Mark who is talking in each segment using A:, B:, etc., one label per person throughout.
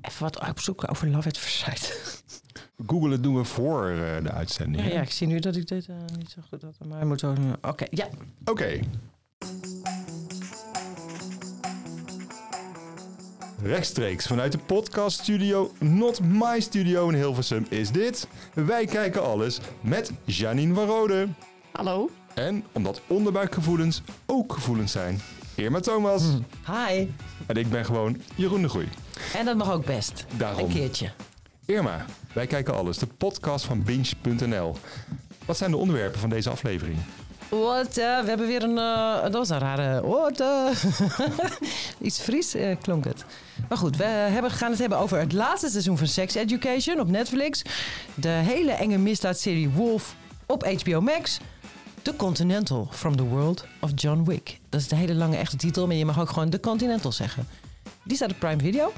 A: even wat opzoeken over Love at First Sight.
B: Google het doen we voor eh, de
A: ja,
B: uitzending. hè?
A: ja, ik zie nu dat ik dit eh, niet zo goed had. Maar ik moet ook... Oké, ja.
B: Oké. Rechtstreeks vanuit de podcaststudio Not My Studio in Hilversum is dit. Wij kijken alles met Janine van Rode.
C: Hallo.
B: En omdat onderbuikgevoelens ook gevoelens zijn, Irma Thomas.
A: Hm. Hi.
B: En ik ben gewoon Jeroen de Groei.
A: En dat mag ook best.
B: Daarom.
A: Een keertje.
B: Irma, wij kijken alles, de podcast van binge.nl. Wat zijn de onderwerpen van deze aflevering?
A: Wat, eh, we hebben weer een... eh, dat was een rare... Wat, eh. Iets Fries eh, klonk het. Maar goed, we hebben, gaan het hebben over het laatste seizoen van Sex Education op Netflix. De hele enge misdaadserie Wolf op HBO Max. The Continental from the World of John Wick. Dat is de hele lange echte titel, maar je mag ook gewoon The Continental zeggen. Die staat op Prime Video.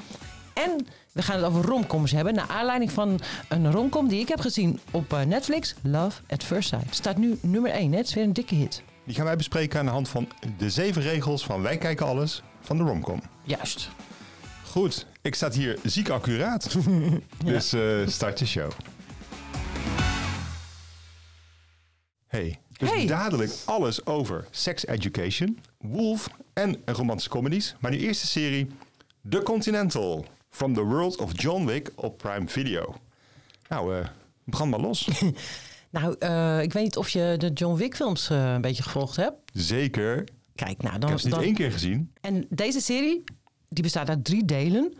A: En we gaan het over romcoms hebben. Naar aanleiding van een romcom die ik heb gezien op eh, Netflix. Love at First Sight. Staat nu nummer 1. Het is weer een dikke hit.
B: Die gaan wij bespreken aan de hand van de zeven regels van Wij kijken alles van de Romcom.
A: Juist.
B: Goed, ik sta hier ziek accuraat. Dus eh, start de show. Hey, dus
A: Hey.
B: dadelijk alles over Sex Education, Wolf en romantische comedies. Maar nu eerst de serie The Continental, From the World of John Wick op Prime Video. Nou, eh brand maar los.
A: Nou, eh, ik weet niet of je de John Wick films eh, een beetje gevolgd hebt.
B: Zeker.
A: Kijk, nou
B: Ik
A: dan...
B: heb het niet
A: dan-
B: één keer gezien.
A: En deze serie, die bestaat uit drie delen.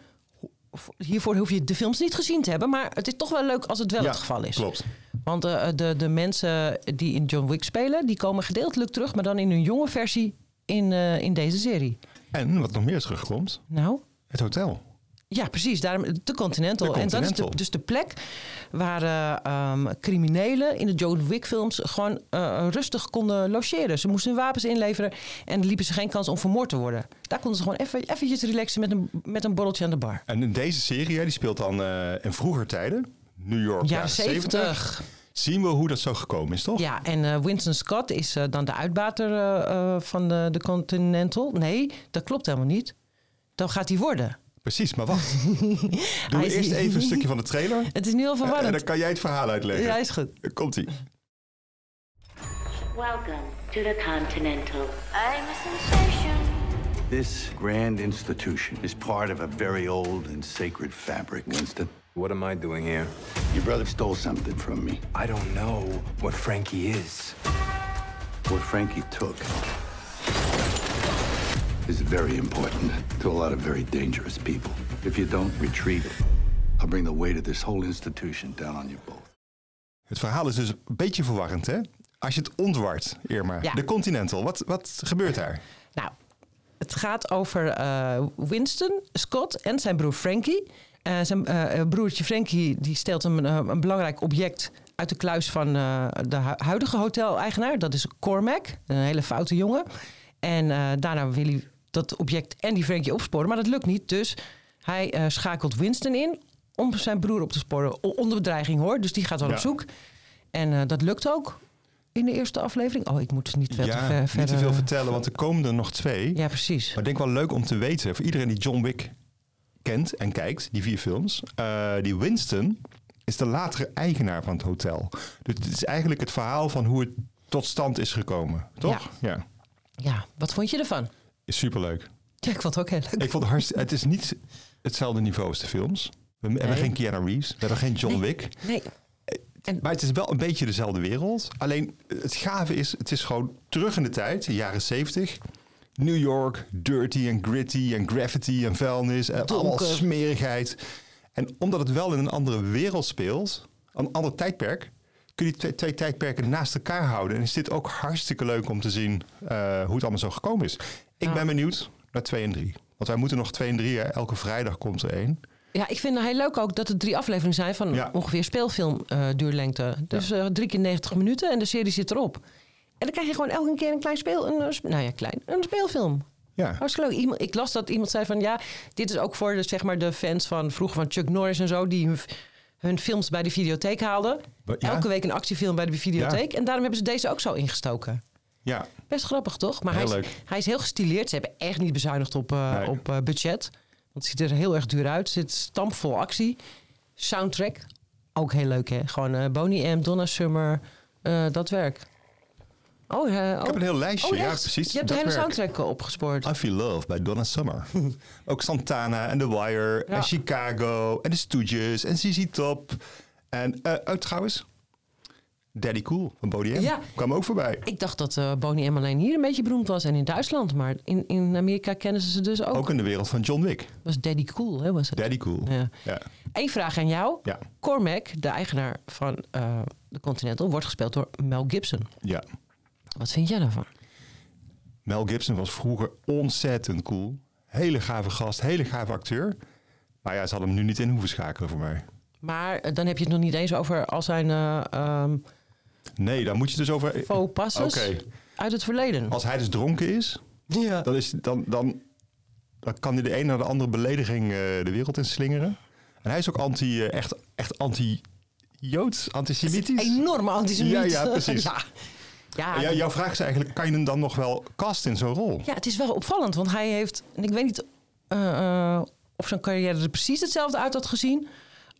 A: Ho- Hiervoor hoef je de films niet gezien te hebben. Maar het is toch wel leuk als het wel
B: Ja,
A: het geval is.
B: Klopt.
A: Want eh, de, de mensen die in John Wick spelen, die komen gedeeltelijk terug, maar dan in hun jonge versie in, eh, in deze serie.
B: En wat nog meer terugkomt,
A: Nou,
B: het hotel.
A: ja, precies. Daarom de Continental. en
B: De
A: dat is de-
B: Continental.
A: dus de plek waar eh, ehm, criminelen in de John Wick-films gewoon eh, rustig konden logeren. Ze moesten hun wapens inleveren en liepen ze geen kans om vermoord te worden. Daar konden ze gewoon even, eventjes relaxen met een, met een borreltje aan de bar.
B: En in deze serie, hè, die speelt dan eh, in vroeger tijden, New York,
A: Jaren
B: 70.
A: 70.
B: zien we hoe dat zo gekomen is, toch?
A: Ja, en eh, Winston Scott is eh, dan de uitbater eh, eh, van de, de Continental. Nee, dat klopt helemaal niet. Dan gaat hij worden.
B: Precies, maar wacht. Doe
A: Hij is-
B: eerst even een stukje van de trailer.
A: Het is nu al
B: En
A: verwarrend.
B: dan kan jij het verhaal uitleggen.
A: Ja, is goed.
B: Komt-ie.
D: Welcome to the Continental.
E: I'm a sensation.
F: This grand institution is part of a very old and sacred fabric, Winston.
G: What am I doing here?
F: Your brother stole something from me.
G: I don't know what Frankie is.
F: What Frankie took is very important to a lot of very dangerous people. If you don't retrieve it, I'll bring the weight of this whole institution down on you both.
B: Het verhaal is dus een beetje verwarrend, hè? Als je het ontwart, Irma.
A: Ja.
B: De Continental, wat, wat gebeurt daar?
A: Nou, het gaat over eh, Winston Scott en zijn broer Frankie. Eh, zijn eh, broertje Frankie die stelt hem een, eh, een belangrijk object uit de kluis van eh, de hu- huidige hotel-eigenaar. Dat is Cormac, een hele foute jongen. En eh, daarna wil hij dat object en die Frankie opsporen, maar dat lukt niet. Dus hij eh, schakelt Winston in om zijn broer op te sporen. O- Onder bedreiging hoor, dus die gaat wel
B: Ja.
A: op zoek. En eh, dat lukt ook in de eerste aflevering. Oh, ik moet niet veel te
B: ja,
A: ver,
B: niet te
A: verder- eh,
B: veel vertellen, want er komen er nog twee.
A: Ja, precies.
B: Maar ik denk wel leuk om te weten, voor iedereen die John Wick kent en kijkt, die vier films. eh, die Winston is de latere eigenaar van het hotel. Dus het is eigenlijk het verhaal van hoe het tot stand is gekomen, toch? ja.
A: Ja, wat vond je ervan?
B: Is superleuk.
A: Ja, ik vond het ook heel leuk.
B: Ik vond het hartstikke... Het is niet hetzelfde niveau als de films. We hebben geen Keanu Reeves. We hebben geen John Wick.
A: Nee. En,
B: Maar het is wel een beetje dezelfde wereld. Alleen eh, het gave is, het is gewoon terug in de tijd, de jaren 70. New York, dirty en gritty en graffiti en vuilnis. En allemaal
A: Donker.
B: smerigheid. En omdat het wel in een andere wereld speelt, een ander tijdperk... kun je die twee, twee tijdperken naast elkaar houden. En is dit ook hartstikke leuk om te zien eh, hoe het allemaal zo gekomen is. Ik ben benieuwd naar 2 en 3. Want wij moeten nog 2 en 3, hè. elke vrijdag komt er één.
A: ja, ik vind het heel leuk ook dat het drie afleveringen zijn van
B: Ja.
A: ongeveer speelfilm eh, duurlengte. Dus eh, drie keer 90 minuten en de serie zit erop. En dan krijg je gewoon elke keer een klein speel... Een, eh, sp- nou ja, klein. Een speelfilm.
B: Ja.
A: Hartstikke leuk. Iemand, ik las dat iemand zei van... Ja, dit is ook voor de, zeg maar, de fans van vroeger van Chuck Norris en zo... die hun, hun films bij de videotheek haalden.
B: Wa- ja?
A: Elke week een actiefilm bij de videotheek. En daarom hebben ze deze ook zo ingestoken.
B: Ja,
A: Best grappig, toch? Maar hij
B: Heel
A: is,
B: leuk.
A: hij is heel gestileerd. Ze hebben echt niet bezuinigd op, eh,
B: Nee.
A: op eh, budget. Want het ziet er heel erg duur uit. Er zit stampvol actie. Soundtrack, ook heel leuk hè. Gewoon eh Boney M, Donna Summer, eh, dat werk. Oh, eh, oh.
B: Ik heb een heel lijstje.
A: Oh,
B: ja,
A: echt?
B: precies.
A: Je hebt de
B: Dat
A: hele
B: werk. Ah.
A: soundtrack eh, opgespoord.
B: I Feel Love bij Donna Summer. ook Santana en The Wire
A: Ja.
B: en Chicago en The Stooges en ZZ Top. En eh uit trouwens, Daddy Cool van Bodie M.
A: Ja.
B: Kwam ook voorbij.
A: Ik dacht dat eh Boney M alleen hier een beetje beroemd was en in Duitsland. Maar in, in Amerika kennen ze ze dus ook.
B: Ook in de wereld van John Wick.
A: was Daddy Cool, hè, was het?
B: Daddy Cool.
A: Ja.
B: Ja.
A: Eén vraag aan jou.
B: Ja.
A: Cormac, de eigenaar van eh, de Continental, wordt gespeeld door Mel Gibson.
B: ja.
A: Wat vind jij daarvan?
B: Mel Gibson was vroeger ontzettend cool. Hele gave gast, hele gave acteur. Maar ja, ze hadden hem nu niet in hoeven schakelen voor mij.
A: Maar eh, dan heb je het nog niet eens over al zijn eh, ehm,
B: Nee, daar moet je dus over...
A: faux passes
B: Oké.
A: uit het verleden.
B: Als hij dus dronken is,
A: Ja.
B: dan, is, dan, dan, dan kan hij de een naar de andere belediging eh, de wereld in slingeren. En hij is ook anti, eh, echt, echt anti-joods, antisemitisch.
A: Enorme antisemiet.
B: Ja, ja, precies.
A: ja. Ja,
B: En jou- jouw vraag is eigenlijk, kan je hem dan nog wel casten in zo'n rol?
A: Ja, het is wel opvallend, want hij heeft, en ik weet niet eh, eh, of zijn carrière er precies hetzelfde uit had gezien.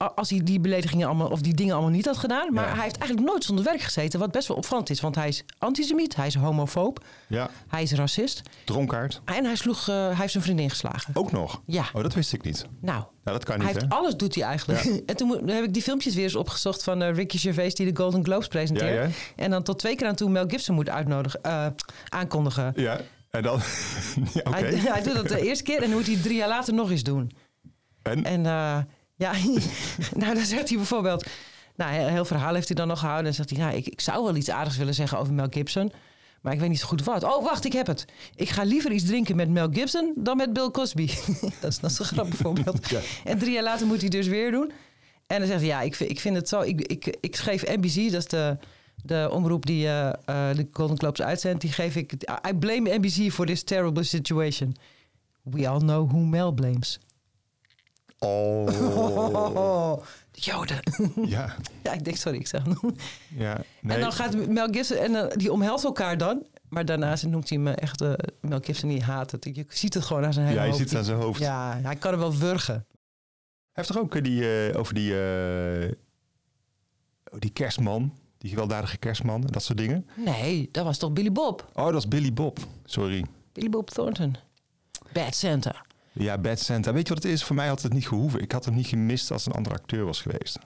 A: a- Als hij die beledigingen allemaal, of die dingen allemaal niet had gedaan. Maar
B: Ja.
A: hij heeft eigenlijk nooit zonder werk gezeten. Wat best wel opvallend is. Want hij is antisemiet, hij is homofoob,
B: Ja,
A: hij is racist.
B: dronkaard.
A: En hij, sloeg, eh, hij heeft zijn vriendin geslagen.
B: Ook nog?
A: Ja.
B: Oh, dat wist ik niet.
A: Nou,
B: Nou, dat kan
A: hij
B: niet,
A: heeft
B: hè?
A: alles doet hij eigenlijk.
B: Ja.
A: en toen mo- heb ik die filmpjes weer eens opgezocht van eh, Ricky Gervais die de Golden Globes presenteert.
B: Ja, ja.
A: En dan tot twee keer aan toe Mel Gibson moet uitnodigen, eh, aankondigen.
B: Ja, en dan... ja, oké.
A: Hij, hij doet dat de eerste keer en dan moet hij het drie jaar later nog eens doen.
B: En?
A: En eh, ja, nou dan zegt hij bijvoorbeeld... Nou, een heel verhaal heeft hij dan nog gehouden. En zegt hij, ja, ik, ik zou wel iets aardigs willen zeggen over Mel Gibson. Maar ik weet niet zo goed wat. Oh, wacht, ik heb het. Ik ga liever iets drinken met Mel Gibson dan met Bill Cosby. dat, is, dat is een grappig voorbeeld. En drie jaar later moet hij dus weer doen. En dan zegt hij, ja, ik, vind- ik vind het zo... Ik, ik, ik geef NBC, dat is de, de omroep die eh, eh, de Golden Globes uitzendt... die geef ik... I blame NBC for this terrible situation. We all know who Mel blames.
B: Oh.
A: Oh, de Joden.
B: ja.
A: ja, ik denk, sorry, ik zeg het nog.
B: ja. Nee.
A: En dan gaat Mel Gibson, en dan- die omhelst elkaar dan. Maar daarnaast noemt hij me echt, eh, Mel Gibson die haat het. Je ziet het gewoon aan zijn hele
B: Ja, je
A: hoofd.
B: ziet het aan zijn hoofd.
A: Ja, hij kan hem wel wurgen.
B: Hij heeft toch ook eh, die, eh, over die, eh, oh, die kerstman, die gewelddadige kerstman en dat soort dingen.
A: Nee, dat was toch Billy Bob?
B: Oh, dat is Billy Bob. Sorry.
A: Billy Bob Thornton. Bad Santa.
B: Ja, Bad Santa. Weet je wat het is? Voor mij had het niet gehoeven. Ik had hem niet gemist als een andere acteur was geweest.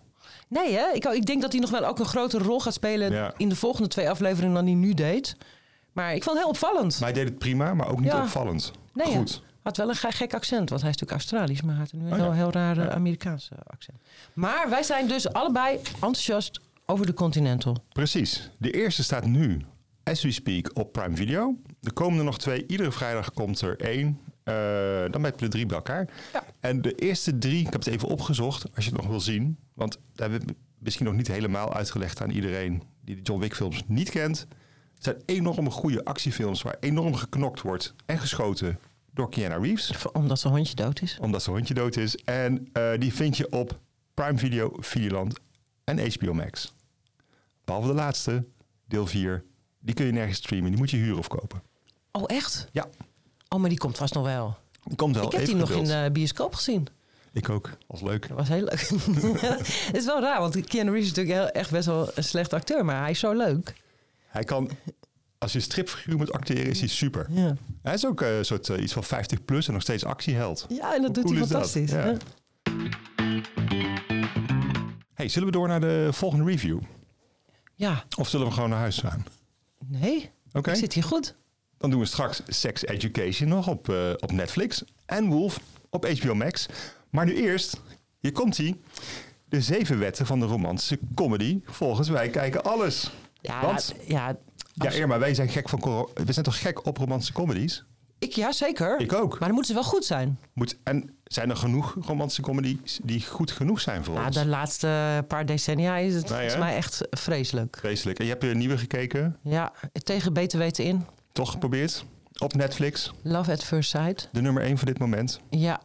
A: Nee, hè? Ik, ik denk dat hij nog wel ook een grote rol gaat spelen
B: Ja.
A: in de volgende twee afleveringen dan hij nu deed. Maar ik vond het heel opvallend.
B: Maar hij deed het prima, maar ook niet
A: Ja.
B: opvallend.
A: Nee,
B: Goed.
A: hij had wel een ge- gek accent, want hij is natuurlijk Australisch, maar hij had nu een
B: Oh,
A: heel,
B: ja.
A: heel raar eh, Amerikaans eh, accent. Maar wij zijn dus allebei enthousiast over de Continental.
B: Precies. De eerste staat nu, as we speak, op Prime Video. Er komen er nog twee. Iedere vrijdag komt er één. Eh, dan heb je er drie bij elkaar.
A: Ja.
B: En de eerste drie, ik heb het even opgezocht, als je het nog wil zien. Want dat hebben we misschien nog niet helemaal uitgelegd aan iedereen die de John Wick films niet kent. Het zijn enorme goede actiefilms waar enorm geknokt wordt en geschoten door Keanu Reeves
A: Omdat zijn hondje dood is.
B: omdat zijn hondje dood is. En eh, die vind je op Prime Video, Videoland en HBO Max. Behalve de laatste, deel 4. Die kun je nergens streamen. Die moet je huren of kopen.
A: Oh, echt?
B: Ja,
A: Oh, maar die komt vast nog wel.
B: die komt wel.
A: Ik heb die
B: Even
A: nog in eh,
B: geduld.
A: de bioscoop gezien.
B: Ik ook. Als leuk.
A: Dat was heel leuk. Het is wel raar, want Keanu Reeves is natuurlijk heel, echt best wel een slecht acteur, maar hij is zo leuk.
B: Hij kan... Als je stripfiguur moet acteren, is hij super.
A: Ja,
B: Hij is ook eh, een soort, eh, iets van 50 plus en nog steeds actieheld.
A: ja en dat doet
B: cool
A: hij
B: is dat?
A: fantastisch.
B: Ja.
A: hè?
B: Hey, zullen we door naar de volgende review?
A: Ja,
B: Of zullen we gewoon naar huis gaan?
A: nee.
B: Oké.
A: Ik zit hier goed.
B: Dan doen we straks Sex Education nog op, eh, op Netflix. En Wolf op HBO Max. Maar nu eerst, hier komt hij. De zeven wetten van de romantische comedy. Volgens wij kijken alles.
A: Ja,
B: Want,
A: ja,
B: ja, Irma, wij zijn, gek van, coro- we zijn toch gek op romantische comedies?
A: ik, ja, zeker.
B: Ik ook.
A: Maar dan moeten ze wel goed zijn.
B: Moet, en zijn er genoeg romantische comedies die goed genoeg zijn voor
A: Ja,
B: ons?
A: de laatste paar decennia is het volgens
B: hè?
A: mij echt vreselijk.
B: Vreselijk. En je hebt weer een nieuwe gekeken,
A: Ja, tegen beter weten in.
B: toch geprobeerd? Op Netflix,
A: Love at First Sight.
B: de nummer één voor dit moment.
A: Ja,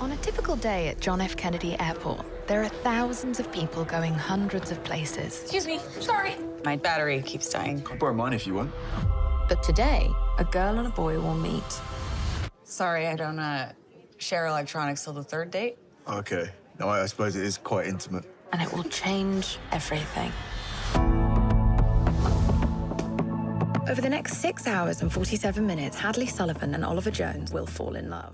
C: On a typical day at John F. Kennedy Airport, there are thousands of people going hundreds of places.
H: Excuse me. Sorry. My battery keeps dying.
G: I'll borrow mine if you want.
C: But today, a girl and a boy will meet.
H: Sorry, I don't uh Share electronics till the third date?
I: Okay. No, I I suppose it is quite intimate.
C: and it will change everything. Over the next six hours and 47 minutes, Hadley Sullivan and Oliver Jones will fall in love.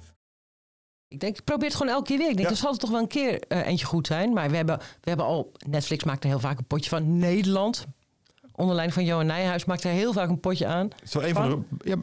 A: Ik denk, ik probeer het gewoon elke keer weer. Ik denk,
B: Ja.
A: er zal er toch wel een keer eh, eentje goed zijn. Maar we hebben, we hebben al, Netflix maakt er heel vaak een potje van. Nederland, onder leiding van Johan Nijhuis, maakt er heel vaak een potje aan.
B: Het is wel een van de ja,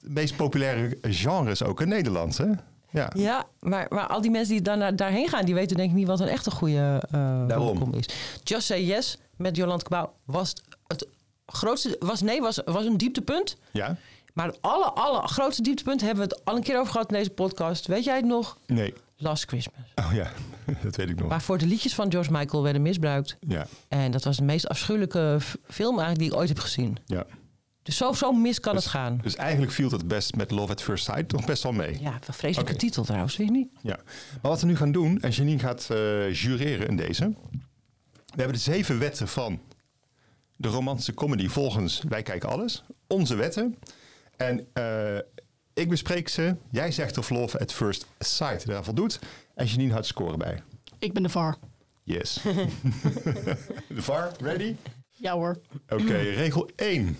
B: meest populaire genres ook in Nederland, hè? Ja.
A: Ja, maar, maar al die mensen die daarna, daarheen gaan, die weten denk ik niet wat een echte goede eh
B: Daarom.
A: romcom is. Just Say Yes met Jolande Kabouw was het grootste, was nee, was, was een dieptepunt.
B: Ja?
A: Maar het alle, alle grootste dieptepunt hebben we het al een keer over gehad in deze podcast. Weet jij het nog?
B: Nee.
A: Last Christmas.
B: Oh ja, dat weet ik nog.
A: Waarvoor de liedjes van George Michael werden misbruikt.
B: Ja,
A: En dat was de meest afschuwelijke f- film eigenlijk die ik ooit heb gezien.
B: ja.
A: Dus zo, zo mis kan het gaan.
B: Dus eigenlijk viel dat best met Love at First Sight nog best wel mee.
A: Ja, wat vreselijke
B: Oké.
A: titel trouwens, vind je niet?
B: Ja. Maar wat we nu gaan doen, en Janine gaat eh, jureren in deze. We hebben de zeven wetten van de romantische comedy volgens Wij Kijken Alles. Onze wetten. En eh, ik bespreek ze. Jij zegt of Love at First Sight daar voldoet. En Janine houdt score bij.
J: Ik ben de VAR.
B: Yes. de VAR, ready?
J: Ja hoor.
B: Oké, regel 1.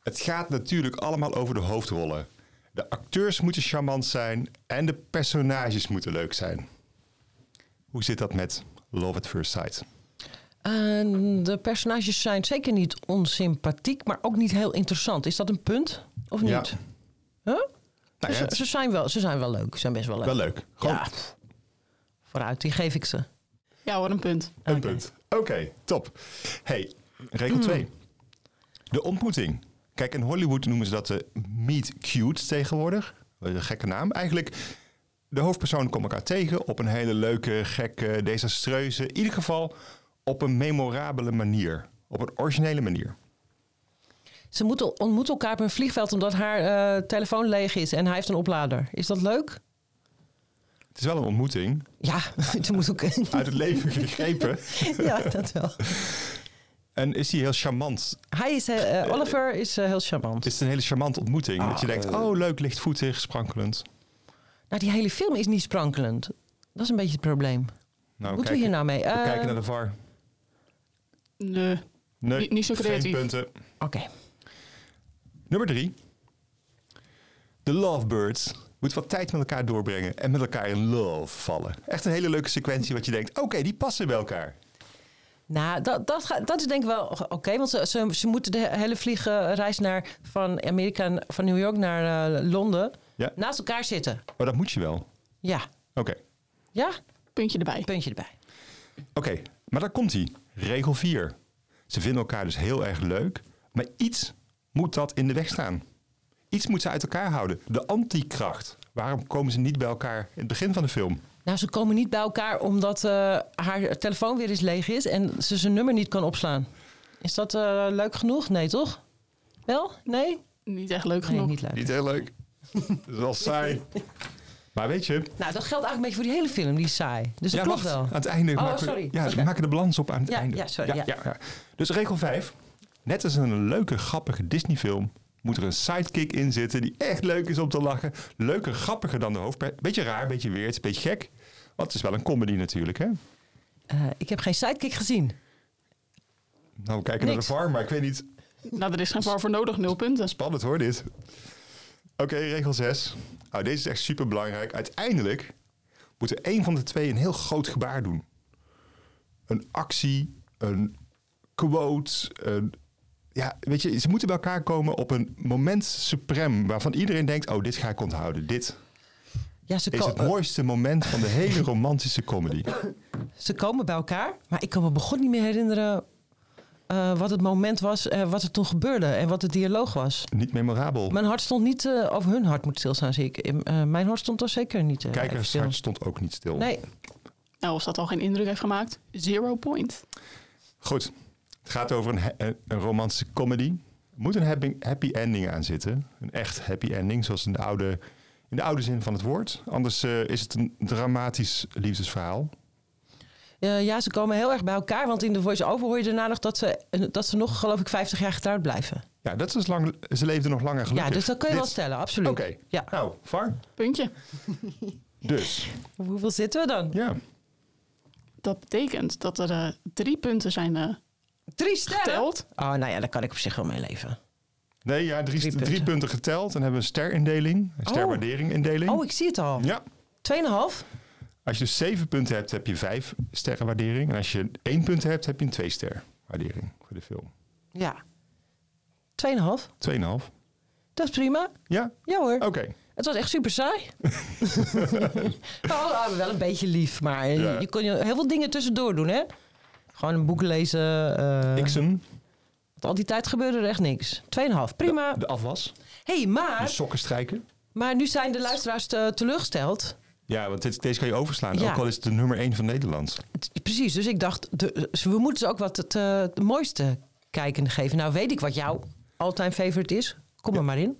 B: Het gaat natuurlijk allemaal over de hoofdrollen. De acteurs moeten charmant zijn en de personages moeten leuk zijn. Hoe zit dat met Love at First Sight?
A: En de personages zijn zeker niet onsympathiek, maar ook niet heel interessant. Is dat een punt of niet?
B: Ja.
A: Huh?
B: Nou ja,
A: ze,
B: het
A: ze
B: is
A: zijn wel, ze zijn wel leuk. Ze zijn best wel leuk.
B: wel leuk. Gewoon
A: Ja. Vooruit, die geef ik ze.
J: Ja hoor, een punt.
B: een punt. Oké, top. Hey, regel
A: Hmm.
B: 2. De ontmoeting. Kijk, in Hollywood noemen ze dat de meet cute tegenwoordig. Wat Een gekke naam. Eigenlijk, de hoofdpersonen komen elkaar tegen op een hele leuke, gekke, desastreuze... in ieder geval op een memorabele manier. Op een originele manier.
A: Ze moeten, ontmoeten elkaar op een vliegveld omdat haar eh, telefoon leeg is en hij heeft een oplader. Is dat leuk?
B: Het is wel een ontmoeting.
A: Ja, ze moet ook.
B: Uit het leven gegrepen.
A: ja, dat wel.
B: En is die heel charmant.
A: Hij is, eh, eh, Oliver is eh, heel charmant.
B: Is het een hele charmante ontmoeting. dat je
A: Ah,
B: denkt,
A: eh,
B: oh leuk, lichtvoetig, sprankelend.
A: Nou, die hele film is niet sprankelend. Dat is een beetje het probleem. Moeten
B: Nou, kijk,
A: we hier nou mee?
B: we
A: Eh,
B: kijken naar de VAR.
J: Nee.
B: Nee,
J: Niet- niet zo creatief.
B: Geen punten.
A: Oké.
B: Nummer drie. De Lovebirds moet wat tijd met elkaar doorbrengen en met elkaar in love vallen. Echt een hele leuke sequentie wat je denkt, oké, die passen bij elkaar.
A: Nou, dat, dat, gaat- dat is denk ik wel oké. want ze, ze, ze moeten de hele vliegreis naar, van Amerika, n- van New York naar eh, Londen,
B: Ja.
A: naast elkaar zitten.
B: Maar dat moet je wel. Oké,
A: Ja.
B: oké,
A: Ja?
J: Puntje erbij.
A: Puntje erbij.
B: maar daar komt hij. Regel 4. Ze vinden elkaar dus heel erg leuk, maar iets moet dat in de weg staan. Iets moet ze uit elkaar houden. De antikracht. Waarom komen ze niet bij elkaar in het begin van de film?
A: Nou, ze komen niet bij elkaar omdat eh, haar telefoon weer eens leeg is en ze zijn nummer niet kan opslaan. Is dat eh, leuk genoeg? Nee, toch? Wel? Nee?
J: Niet echt leuk
A: Nee,
J: genoeg.
A: niet leuk.
B: Niet heel leuk. Dat is wel saai. Maar weet je,
A: Nou, dat geldt eigenlijk een beetje voor die hele film, die is saai. Dus dat klopt
B: wacht.
A: wel.
B: Aan het einde
A: Oh,
B: maken,
A: sorry.
B: We, ja,
A: Oké.
B: we maken de balans op aan het
A: Ja,
B: einde.
A: ja, sorry, ja.
B: Dus regel 5. Net als in een leuke, grappige Disney-film moet er een sidekick in zitten die echt leuk is om te lachen. Leuker, grappiger dan de hoofdpersoon. Beetje raar, beetje weird, beetje gek. Want het is wel een comedy natuurlijk, hè?
A: Eh, ik heb geen sidekick gezien.
B: Nou, we kijken
A: Niks.
B: naar de VAR, maar ik weet niet.
J: Nou, er is geen VAR voor nodig. Nul punten.
B: Spannend hoor, dit. Oké, regel 6. Nou, deze is echt super belangrijk. Uiteindelijk moeten één van de twee een heel groot gebaar doen. Een actie, een quote. Een, ja, weet je, ze moeten bij elkaar komen op een moment suprem waarvan iedereen denkt: oh, dit ga ik onthouden. Dit
A: Ja, ze,
B: is
A: ko-
B: het mooiste moment van de hele romantische comedy.
A: eh, ze komen bij elkaar, maar ik kan me begon niet meer herinneren eh, wat het moment was, eh, wat er toen gebeurde en wat de dialoog was.
B: Niet memorabel.
A: Mijn hart stond niet, eh, of hun hart moet stilstaan, zie ik. In- eh, mijn hart stond daar zeker niet. eh, even stil.
B: Kijkershart stond ook niet stil.
A: Nee,
J: Nou, als dat al geen indruk heeft gemaakt, zero point.
B: Goed. Het gaat over een, he- een een romantische comedy. Er moet een happy, happy ending aan zitten. Een echt happy ending, zoals in de oude, in de oude zin van het woord. Anders eh, is het een dramatisch liefdesverhaal.
A: Eh, ja, ze komen heel erg bij elkaar. Want in de voice-over hoor je daarna nog dat ze, eh, dat ze nog, geloof ik, 50 jaar getrouwd blijven.
B: Ja, dat is lang, ze leefde nog langer gelukkig.
A: Ja, dus dat kun je
B: Dit-
A: wel stellen, absoluut.
B: Oké,
A: Ja.
B: nou, var.
J: Puntje.
B: Dus,
A: Op Hoeveel zitten we dan?
B: ja.
J: Dat betekent dat er eh, drie punten zijn eh,
A: Drie sterren.
J: geteld.
A: Oh, nou ja, daar kan ik op zich wel mee leven.
B: Nee, ja, drie,
A: Drie
B: drie,
A: punten.
B: punten. geteld. Dan hebben we een sterindeling, een
A: Oh.
B: sterwaardering-indeling.
A: Oh, ik zie het al.
B: Ja.
A: Tweeënhalf.
B: Als je dus zeven punten hebt, heb je vijf sterren waardering. En als je één punt hebt, heb je een twee ster waardering voor de film.
A: Ja. Tweeënhalf.
B: Tweeënhalf.
A: Dat is prima.
B: Ja?
A: Ja hoor.
B: Oké.
A: Het was echt super saai. maar we waren wel een beetje lief. Maar je-
B: Ja.
A: je kon je heel veel dingen tussendoor doen, hè? Gewoon een boek lezen. eh,
B: Xen,
A: want al die tijd gebeurde er echt niks. Tweeënhalf. Prima.
B: de afwas.
A: hey,
B: De
A: maar,
B: sokken strijken.
A: maar nu zijn de luisteraars te- teleurgesteld.
B: Ja, want dit, deze kan je overslaan.
A: Ja.
B: Ook al is het de nummer één van Nederland.
A: Het- Precies, dus ik dacht, de- ze- we moeten ze ook wat het, eh, het mooiste kijken geven. Nou weet ik wat jouw all-time favorite is. Kom er maar in.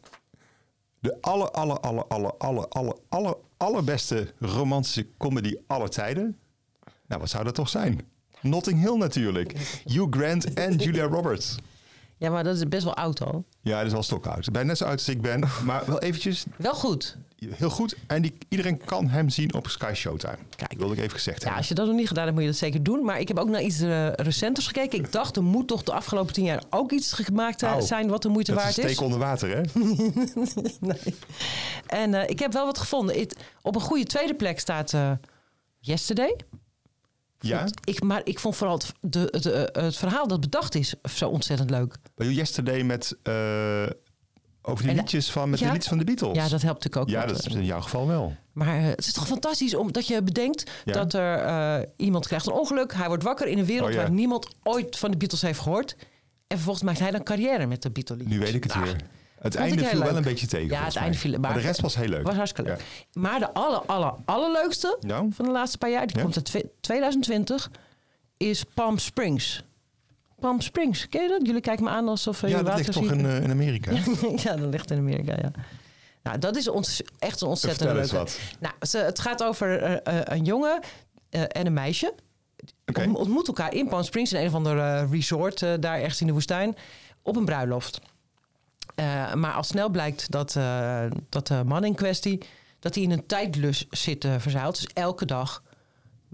B: De aller, aller, aller, aller, aller, aller, aller, allerbeste romantische comedy aller tijden. Nou, wat zou dat toch zijn? Notting Hill natuurlijk. Hugh Grant en Julia Roberts.
A: Ja, maar dat is best wel oud al.
B: Ja, dat is wel stokoud. Bijna net zo oud als ik ben. Maar wel eventjes
A: Wel goed.
B: heel goed. En die, iedereen kan hem zien op Sky Showtime.
A: Kijk.
B: Dat wilde ik even gezegd
A: Ja,
B: hebben.
A: als je dat nog niet gedaan hebt, moet je dat zeker doen. Maar ik heb ook naar iets eh, recenters gekeken. Ik dacht, er moet toch de afgelopen tien jaar ook iets gemaakt eh,
B: Au,
A: zijn wat de moeite
B: Oh, dat is een
A: waard is.
B: steek onder water, hè?
A: Nee. En eh, ik heb wel wat gevonden. Het- op een goede tweede plek staat eh, Yesterday.
B: ja.
A: Ik, maar ik vond vooral het, de, het, eh, het verhaal dat bedacht is zo ontzettend leuk.
B: Bij Yesterday met... eh, over die
A: En- eh,
B: liedjes van, met
A: Ja?
B: de liedjes van de Beatles.
A: Ja, dat helpt natuurlijk ook.
B: ja,
A: wat,
B: dat is
A: eh,
B: in jouw geval wel.
A: Maar eh, het is toch fantastisch omdat je bedenkt
B: Ja.
A: dat er eh, iemand krijgt een ongeluk. Hij wordt wakker in een wereld
B: Oh, ja.
A: waar niemand ooit van de Beatles heeft gehoord. En vervolgens maakt hij dan carrière met de Beatles.
B: Nu weet ik het weer. Het
A: vond ik
B: einde
A: heel
B: viel wel
A: leuk.
B: een beetje tegen.
A: Ja,
B: volgens
A: het einde
B: mij.
A: viel- maar-
B: Maar, de rest was heel leuk.
A: was hartstikke leuk.
B: Ja.
A: Maar de aller, aller, allerleukste
B: Nou?
A: van de laatste paar jaar, die
B: Ja?
A: komt uit twe- 2020, is Palm Springs. Palm Springs, ken je dat? Jullie kijken me aan alsof eh,
B: Ja,
A: je
B: dat
A: water
B: ligt toch in, eh, in Amerika.
A: ja, dat ligt in Amerika, ja. Nou, dat is ons, echt een ontzettend
B: Vertel eens
A: leuke.
B: wat.
A: Nou, ze, het gaat over eh, eh, een jongen eh, en een meisje.
B: Oké.
A: Ont- Ontmoet elkaar in Palm Springs, in een of ander eh, resort eh, daar ergens in de woestijn, op een bruiloft. Eh, maar al snel blijkt dat, eh, dat de man in kwestie dat hij in een tijdlus zit eh, verzeild. Dus elke dag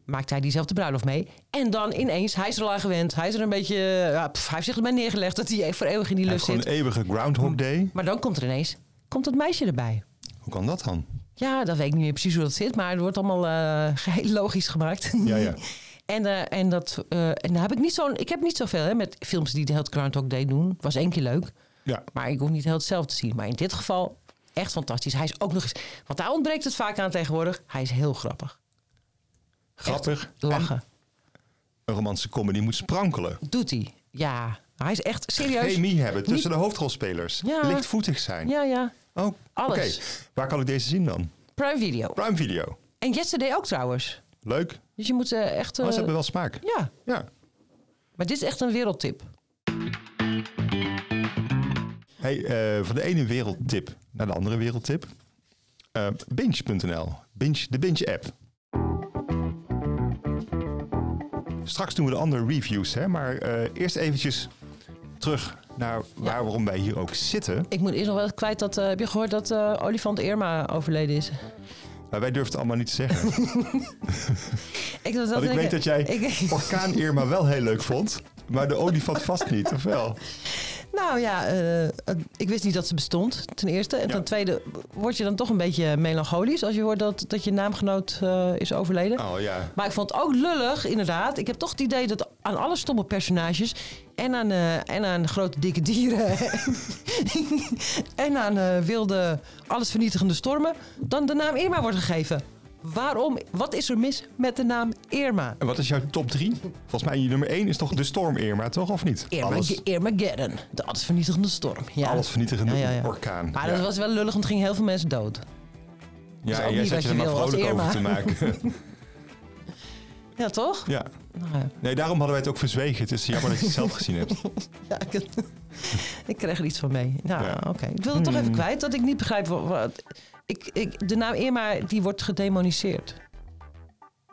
A: maakt hij diezelfde bruiloft mee. En dan ineens, hij is er al aan gewend. Hij is er een beetje, eh, ja, pff, hij heeft zich erbij neergelegd dat hij voor eeuwig in die
B: Hij heeft
A: lus
B: gewoon
A: zit.
B: een eeuwige Groundhog Day.
A: Maar dan komt er ineens, komt dat meisje erbij.
B: Hoe kan dat dan?
A: Ja, dat weet ik niet meer precies hoe dat zit, maar het wordt allemaal eh, heel logisch gemaakt.
B: Ja, ja.
A: en, eh, en, dat, eh, en daar heb ik niet zo'n, ik heb niet zoveel hè, met films die de hele Groundhog Day doen. Was één keer leuk,
B: Ja,
A: maar ik hoef niet heel hetzelfde te zien. Maar in dit geval echt fantastisch. Hij is ook nog eens, want daar ontbreekt het vaak aan tegenwoordig. Hij is heel grappig.
B: grappig.
A: Lachen.
B: Een romantische comedy moet sprankelen.
A: Doet hij. Ja, hij is echt serieus.
B: Chemie hebben tussen de hoofdrolspelers.
A: Ja.
B: Lichtvoetig zijn.
A: Ja, ja.
B: Oh,
A: Alles.
B: oké. Waar kan ik deze zien dan?
A: Prime Video.
B: Prime Video.
A: En Yesterday ook trouwens.
B: Leuk.
A: Dus je moet eh, echt...
B: Maar
A: eh,
B: ze hebben wel smaak.
A: Ja,
B: Ja.
A: maar dit is echt een wereldtip.
B: Hey, eh, van de ene wereldtip naar de andere wereldtip. Eh, binge.nl. Binge, de Binge-app. Straks doen we de andere reviews, hè? maar eh, eerst eventjes terug naar waar, waarom wij hier ook zitten.
A: Ik moet eerst nog wel kwijt dat. eh, heb je gehoord dat eh, Olifant Irma overleden is?
B: Maar wij durven het allemaal niet te zeggen.
A: Ik, dat
B: Want Oh, ik weet dat jij
A: ik-
B: orkaan Irma wel heel leuk vond, maar de olifant vast niet, of wel?
A: nou ja, eh, eh, ik wist niet dat ze bestond, ten eerste. En
B: Ja.
A: ten tweede word je dan toch een beetje melancholisch als je hoort dat, dat je naamgenoot eh, is overleden.
B: Oh ja.
A: Maar ik vond het ook lullig, inderdaad. Ik heb toch het idee dat aan alle stomme personages. En aan, eh, en aan grote dikke dieren. en aan eh, wilde, allesvernietigende stormen. dan de naam Irma wordt gegeven. Waarom? Wat is er mis met de naam Irma?
B: En wat is jouw top 3? Volgens mij je nummer 1 is toch de storm Irma, toch? Of niet?
A: Irma,
B: Alles,
A: Irmageddon. De allesvernietigende storm. Ja.
B: alles vernietigende
A: Ja, ja, ja.
B: orkaan.
A: Maar
B: Ja.
A: dat was wel lullig, want er gingen heel veel mensen dood. is
B: Ja,
A: ook
B: jij
A: niet
B: zet
A: wat
B: je
A: je
B: er maar
A: wil als
B: vrolijk over te
A: Irma.
B: maken.
A: Ja, toch?
B: ja.
A: Nou ja.
B: Nee, daarom hadden wij het ook verzwegen. Het is jammer dat je het zelf gezien hebt.
A: Ja, ik, ik kreeg er iets van mee. Nou,
B: Ja. Hmm.
A: oké. Ik wil het toch even kwijt dat ik niet begrijp wat. wat- ik, ik, de naam Irma die wordt gedemoniseerd.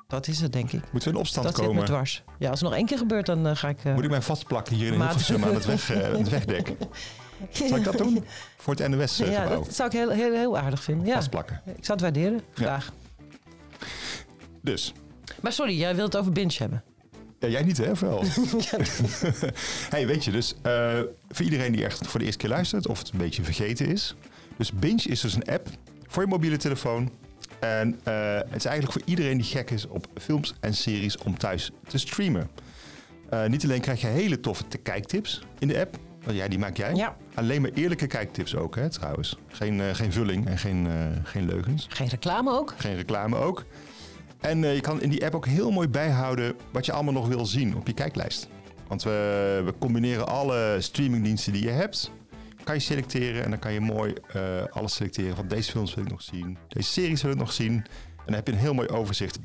A: Dat is het, denk ik.
B: Moeten we in opstand
A: Dat zit me
B: komen?
A: dwars. Ja, als het nog één keer gebeurt, dan eh, ga ik... eh,
B: Moet ik mij vastplakken hier in
A: Maar-
B: Hilversum aan het, weg, eh, aan het wegdek? Zal ik dat doen? Voor het
A: Ja,
B: NOS-gebouw.
A: dat zou ik heel, heel, heel aardig vinden. Ja.
B: eh, Vastplakken.
A: Ik zou het waarderen, graag.
B: Dus,
A: Maar sorry, jij wilt het over binge hebben.
B: Ja, jij niet, hè? Of wel? hey, weet je, dus eh, voor iedereen die echt voor de eerste keer luistert of het een beetje vergeten is. Dus Binge is dus een app voor je mobiele telefoon. En eh, het is eigenlijk voor iedereen die gek is op films en series om thuis te streamen. Eh, niet alleen krijg je hele toffe te- kijktips in de app. Want ja, die maak jij.
A: Ja.
B: Alleen maar eerlijke kijktips ook, hè, trouwens. Geen, eh, geen vulling en geen, eh, geen leugens.
A: Geen reclame ook.
B: Geen reclame ook. En eh, je kan in die app ook heel mooi bijhouden wat je allemaal nog wil zien op je kijklijst. Want we, we combineren alle streamingdiensten die je hebt. Kan je selecteren en dan kan je mooi eh, alles selecteren. Van deze films wil ik nog zien, deze series wil ik nog zien. En dan heb je een heel mooi overzicht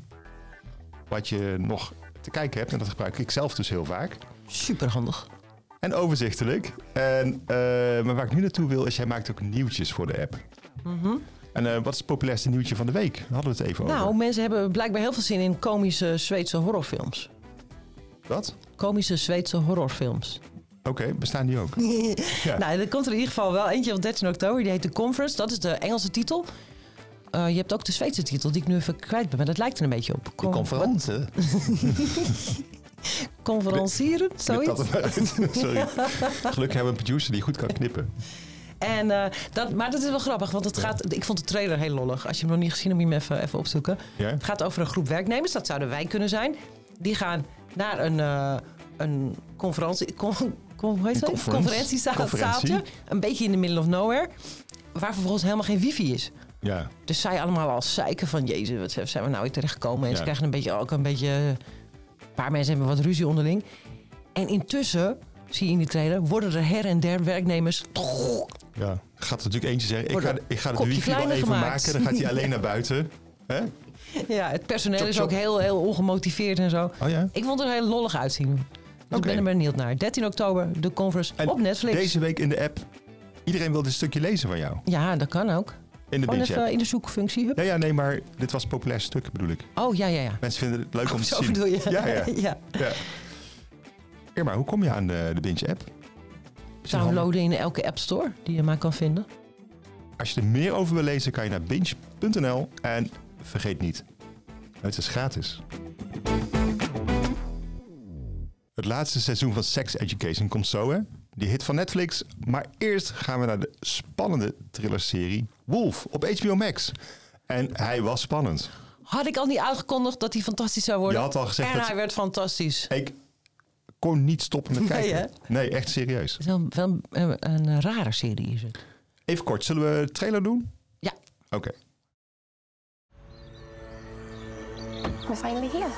B: wat je nog te kijken hebt. En dat gebruik ik zelf dus heel vaak.
A: Superhandig.
B: En overzichtelijk. En, eh, maar waar ik nu naartoe wil is, jij maakt ook nieuwtjes voor de app. En eh, wat is het populairste nieuwtje van de week? Daar hadden we het even
A: Nou,
B: over.
A: mensen hebben blijkbaar heel veel zin in komische Zweedse horrorfilms.
B: Wat?
A: Komische Zweedse horrorfilms.
B: Oké, bestaan die ook?
A: Nou, er komt er in ieder geval wel eentje op 13 oktober. Die heet The Conference. Dat is de Engelse titel. Eh, je hebt ook de Zweedse titel, die ik nu even kwijt ben. Maar dat lijkt er een beetje op. Con-
B: conferenten.
A: Conferencieren,
B: Knip dat
A: zoiets.
B: er maar uit. Sorry. Gelukkig hebben we een producer die goed kan knippen.
A: En, eh, dat, maar dat is wel grappig, want het gaat, ik vond de trailer heel lollig. Als je hem nog niet gezien hebt, moet je hem even, even opzoeken.
B: Ja?
A: Het gaat over een groep werknemers, dat zouden wij kunnen zijn. Die gaan naar een, eh, een conferentie, con, con- hoe heet
B: Een
A: dat?
B: conference.
A: Conferentiezaal-
B: Conferentie.
A: zaaltje, Een beetje in the middle of nowhere. Waar vervolgens helemaal geen wifi is.
B: Ja.
A: Dus zij allemaal al zeiken van... Jezus, wat zijn we nou weer terechtgekomen? En
B: Ja.
A: ze krijgen een beetje, ook een beetje... Een paar mensen hebben wat ruzie onderling. En intussen, zie je in die trailer... worden er her en der werknemers...
B: ja. Gaat er natuurlijk eentje zeggen, ik
A: Wordt
B: ga,
A: een
B: ik ga de
A: kopje
B: wifi wel
A: kleiner
B: even
A: gemaakt.
B: maken. Dan gaat hij alleen naar buiten. Hè?
A: Ja, het personeel
B: Chop,
A: is
B: chop.
A: ook heel, heel ongemotiveerd en zo.
B: Oh ja?
A: Ik vond het er heel lollig uitzien. Dus ik
B: Oké.
A: ben er benieuwd naar. 13 oktober, de conference
B: En
A: op Netflix.
B: Deze week in de app. Iedereen wil dit stukje lezen van jou.
A: Ja, dat kan ook.
B: In de
A: Gewoon
B: Binge
A: even
B: app.
A: in de zoekfunctie. hup.
B: Ja, ja, nee, maar dit was het populairste stuk bedoel ik.
A: Oh, ja, ja, ja.
B: Mensen vinden het leuk om
A: Oh,
B: te
A: Zo
B: zien.
A: bedoel je.
B: Ja, ja.
A: ja.
B: ja. Irma, hoe kom je aan de, de Binge app?
A: Downloaden in elke app store die je maar kan vinden.
B: Als je er meer over wil lezen, kan je naar binge.nl en vergeet niet, het is gratis. Het laatste seizoen van Sex Education komt zo, hè? Die hit van Netflix. Maar eerst gaan we naar de spannende thrillerserie Wolf op HBO Max. En hij was spannend.
A: Had ik al niet aangekondigd dat hij fantastisch zou worden?
B: Je had al gezegd
A: En
B: dat-
A: hij werd fantastisch.
B: Ik kon niet stoppen met
A: Nee,
B: kijken.
A: hè?
B: nee echt serieus.
A: Het is wel, wel een, een, een rare serie is het.
B: Even kort, zullen we de trailer doen?
A: Ja.
B: Oké.
E: We're finally here.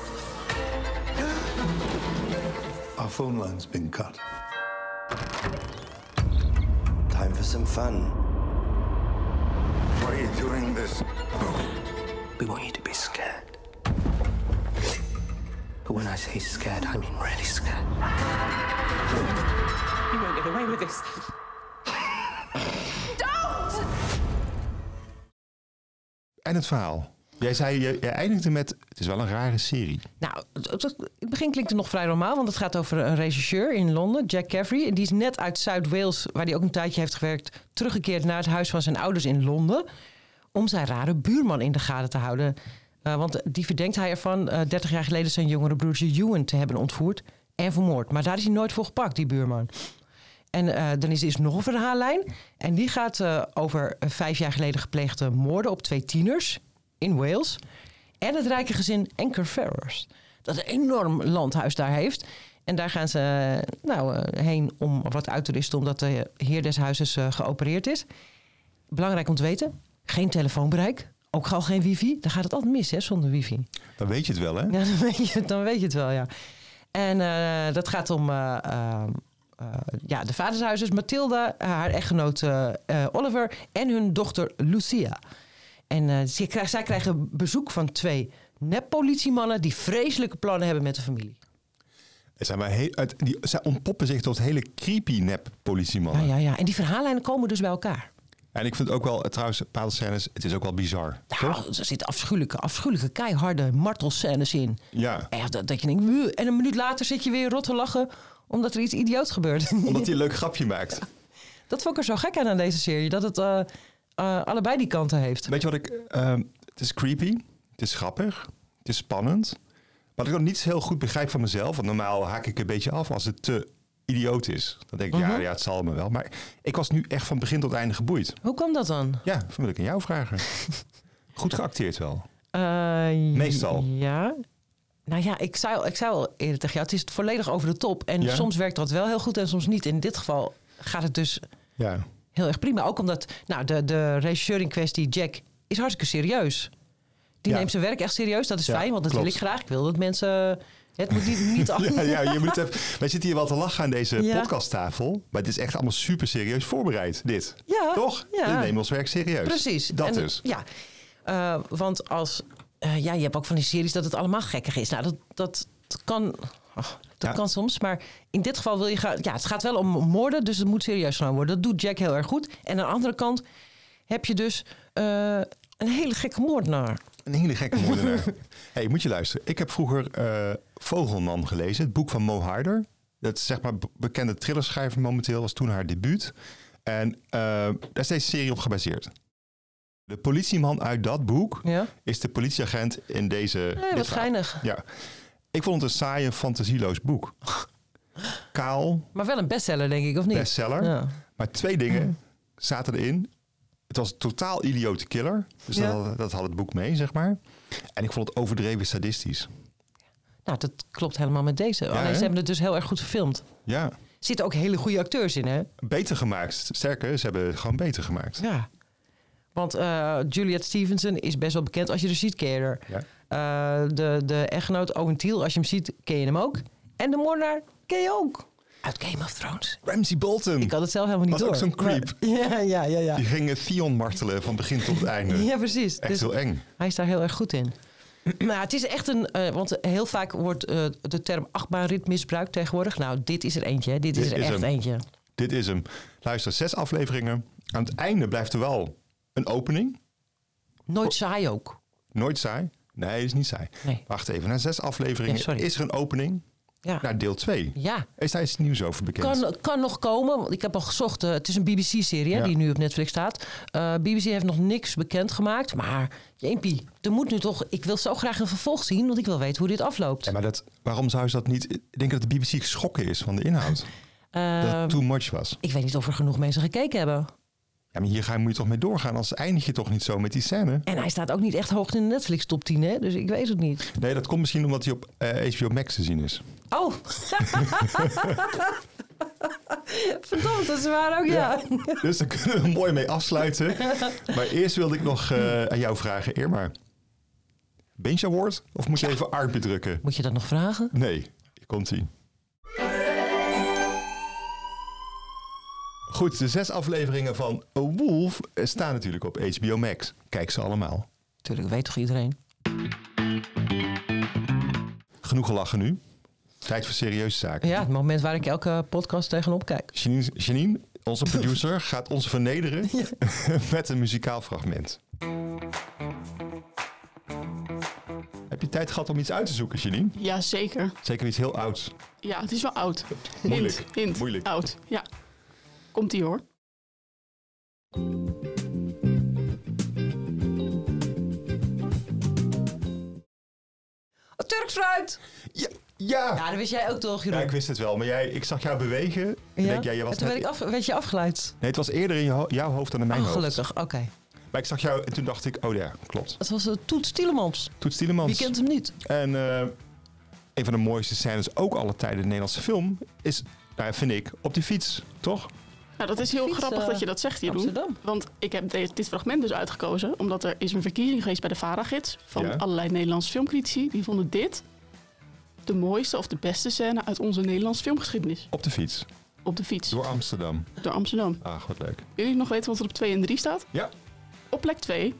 F: Our phone line's been cut.
G: Time for some fun.
F: Why are you doing this?
G: We want you to be scared. But when I say scared, I mean really scared.
H: You won't get away with this.
B: En het verhaal. Jij zei, je, je eindigde met, het is wel een rare serie.
A: Nou, het- het het begin klinkt het nog vrij normaal, want het gaat over een regisseur in Londen, Jack Caffrey. En Die is net uit Zuid-Wales, waar hij ook een tijdje heeft gewerkt, teruggekeerd naar het huis van zijn ouders in Londen. Om zijn rare buurman in de gaten te houden. Eh, want die verdenkt hij ervan eh 30 jaar geleden zijn jongere broertje Ewan te hebben ontvoerd en vermoord. Maar daar is hij nooit voor gepakt, die buurman. En eh, dan is er is nog een verhaallijn. En die gaat eh, over eh, vijf jaar geleden gepleegde moorden op twee tieners in Wales. En het rijke gezin Ankerfarers. Dat een enorm landhuis daar heeft. En daar gaan ze eh, nou, eh, heen om wat uit te rusten, omdat de heer des huizes eh, geopereerd is. Belangrijk om te weten: geen telefoonbereik. Ook al geen wifi. Dan gaat het altijd mis, hè, zonder wifi.
B: Dan weet je het wel, hè?
A: Ja, dan weet je het, dan weet je het wel, ja. En eh, dat gaat om eh, eh, eh, ja, de vadershuizers Mathilda, haar echtgenoot eh, eh, Oliver en hun dochter Lucia. En eh, ze krij- zij krijgen bezoek van twee nep-politiemannen die vreselijke plannen hebben met de familie.
B: Het Zijn maar heel, het- die, zij ontpoppen zich tot hele creepy nep politiemannen.
A: Ja, ja, ja. En die verhaallijnen komen dus bij elkaar.
B: En ik vind ook wel, eh, trouwens, bepaalde scènes, het is ook wel bizar.
A: Nou, er zitten afschuwelijke, afschuwelijke, keiharde martelscènes in.
B: Ja.
A: Echt, dat, dat je denkt, "Wuh." en een minuut later zit je weer rot te lachen omdat er iets idioot gebeurt.
B: Omdat hij een leuk grapje maakt.
A: dat vond ik er zo gek aan aan deze serie, dat het eh, eh, allebei die kanten heeft.
B: Weet je wat ik... ehm, het is creepy, het is grappig, het is spannend. Wat ik dan niet heel goed begrijp van mezelf... want normaal haak ik een beetje af als het te idioot is. Dan denk ik, ja, ja, het zal me wel. Maar ik was nu echt van begin tot einde geboeid.
A: Hoe kwam dat dan?
B: Ja, dat wil ik aan jou vragen. goed geacteerd wel.
A: Eh,
B: Meestal.
A: Ja. Nou ja, ik zei, al- ik zei al eerder tegen jou, het is volledig over de top. En
B: Ja.
A: soms werkt dat wel heel goed en soms niet. In dit geval gaat het dus
B: Ja.
A: heel erg prima. Ook omdat nou, de, de regisseur in kwestie, Jack, is hartstikke serieus. Die
B: Ja.
A: neemt zijn werk echt serieus. Dat is
B: Ja,
A: fijn, want dat wil
B: klopt.
A: ik graag. Ik wil dat mensen... Het moet niet, niet
B: Ja, ja, je moet even, wij zitten hier wel te lachen aan deze
A: Ja.
B: podcasttafel. Maar het is echt allemaal super serieus voorbereid, dit.
A: Ja,
B: Toch?
A: ja.
B: We nemen ons werk serieus.
A: Precies.
B: Dat
A: En-
B: dus.
A: Ja, Eh, want als... eh, ja, je hebt ook van die series dat het allemaal gekkig is. Nou, dat, dat, dat kan... ach, dat
B: Ja.
A: kan soms, maar in dit geval wil je gaan... Ja, het gaat wel om moorden, dus het moet serieus genomen worden. Dat doet Jack heel erg goed. En aan de andere kant heb je dus eh, een hele gekke moordenaar.
B: Een hele gekke moordenaar. hey, moet je luisteren. Ik heb vroeger eh, Vogelman gelezen, het boek van Mo Harder. Dat is zeg maar be- bekende thrillerschrijver momenteel, was toen haar debuut. En eh, daar is deze serie op gebaseerd. De politieman uit dat boek
A: Ja,
B: is de politieagent in deze... dit
A: Eh,
B: verhaal.
A: wat geinig.
B: Ja. Ik vond het een saai en fantasieloos boek. Kaal,
A: Maar wel een bestseller, denk ik, of niet?
B: bestseller.
A: Ja.
B: Maar twee dingen zaten erin. Het was een totaal idiote killer. Dus
A: Ja.
B: dat, had, dat had het boek mee, zeg maar. En ik vond het overdreven sadistisch.
A: Nou, dat klopt helemaal met deze. Alleen
B: hè?
A: ze hebben het dus heel erg goed gefilmd. Er
B: Ja,
A: zitten ook hele goede acteurs in, hè?
B: beter gemaakt. Sterker, ze hebben het gewoon beter gemaakt.
A: Ja. Want eh, Juliette Stevenson is best wel bekend als je haar ziet, ken je haar.
B: Ja.
A: Eh, de, de echtgenoot Owen Thiel, als je hem ziet, ken je hem ook. En de moordenaar ken je ook. Uit Game of Thrones.
B: Ramsey Bolton.
A: Ik had het zelf helemaal niet
B: Was ook
A: door.
B: zo'n creep.
A: Maar- ja, ja, ja, ja.
B: Die gingen Theon martelen van begin tot het einde.
A: Ja, precies.
B: Echt
A: Dus-
B: heel eng.
A: Hij is daar heel erg goed in. Maar het is echt een, eh, want heel vaak wordt eh, de term achtbaanrit misbruikt tegenwoordig. Nou, dit is er eentje, hè. dit, is
B: Dit
A: er
B: is
A: echt
B: hem.
A: eentje.
B: Dit is hem. Luister, zes afleveringen. Aan het einde blijft er wel een opening.
A: Nooit saai ook.
B: Nooit saai. Nee, is niet saai.
A: Nee.
B: Wacht even, na zes afleveringen
A: Ja, sorry.
B: is er een opening
A: Ja,
B: naar deel 2.
A: ja.
B: Is daar iets nieuws over bekend?
A: Kan, kan nog komen, want ik heb al gezocht. eh, het is een BBC-serie
B: Ja.
A: die nu op Netflix staat. Eh, BBC heeft nog niks bekendgemaakt, maar Jeempie, er moet nu toch... Ik wil zo graag een vervolg zien, want ik wil weten hoe dit afloopt.
B: Ja, maar dat, waarom zou ze dat niet... Ik denk dat de BBC geschrokken is van de inhoud. dat het too much was.
A: Ik weet niet of er genoeg mensen gekeken hebben.
B: Ja, maar hier ga, moet je toch mee doorgaan, anders eindig je toch niet zo met die scène?
A: En hij staat ook niet echt hoog in de Netflix-top 10, hè? dus ik weet het niet.
B: Nee, dat komt misschien omdat hij op eh, HBO Max te zien is.
A: Oh. Verdomd, dat is waar ook, ja.
B: dus daar kunnen we mooi mee afsluiten. Maar eerst wilde ik nog eh, aan jou vragen, Irma. Bench Award of moet je even armpje drukken?
A: Moet je dat nog vragen?
B: Nee, hier komt ie. Goed, de zes afleveringen van A Wolf eh, staan natuurlijk op HBO Max. Kijk ze allemaal.
A: Tuurlijk, weet toch iedereen?
B: Genoeg gelachen nu. Tijd voor serieuze zaken.
A: Ja, het moment waar ik elke podcast tegenop kijk.
B: Janine, Janine, onze producer, gaat ons vernederen met een muzikaal fragment. Heb je tijd gehad om iets uit te zoeken, Janine?
J: Jazeker.
B: Zeker iets heel ouds.
J: Ja, het is wel oud.
B: Moeilijk.
J: Hint, hint.
B: Moeilijk.
J: Oud, ja. Komt-ie hoor.
A: Oh, Turks fruit!
B: Ja, ja.
A: Ja, dat wist jij ook toch,
B: Ja,
A: Jeroen?
B: ik wist het wel, maar jij, ik zag jou bewegen. Ik
A: Ja?
B: Denk, jij, jij was
A: en toen
B: net-
A: werd, ik af, werd je afgeleid.
B: Nee, het was eerder in je ho- jouw hoofd dan in mijn
A: Oh,
B: hoofd.
A: gelukkig, oké.
B: Maar ik zag jou en toen dacht ik, oh ja, klopt.
A: Het was eh, Toet Stielemans.
B: Toet Stielemans.
A: Wie kent hem niet?
B: En eh, een van de mooiste scènes ook alle tijden in de Nederlandse film is, nou ja, vind ik, op die fiets, toch?
J: Nou, dat is heel
A: fiets,
J: grappig
A: eh,
J: dat je dat zegt, Jeroen.
A: Amsterdam.
J: Want ik heb de- dit fragment dus uitgekozen, omdat er is een verkiezing geweest bij de VARA-gids van
B: Ja.
J: allerlei Nederlandse filmcritici. Die vonden dit de mooiste of de beste scène uit onze Nederlandse filmgeschiedenis.
B: Op de fiets.
J: Op de fiets,
B: Door Amsterdam.
J: door Amsterdam.
B: Ach, wat leuk.
J: Wil jullie nog weten wat er op 2 en 3 staat?
B: Ja.
J: Op plek 2,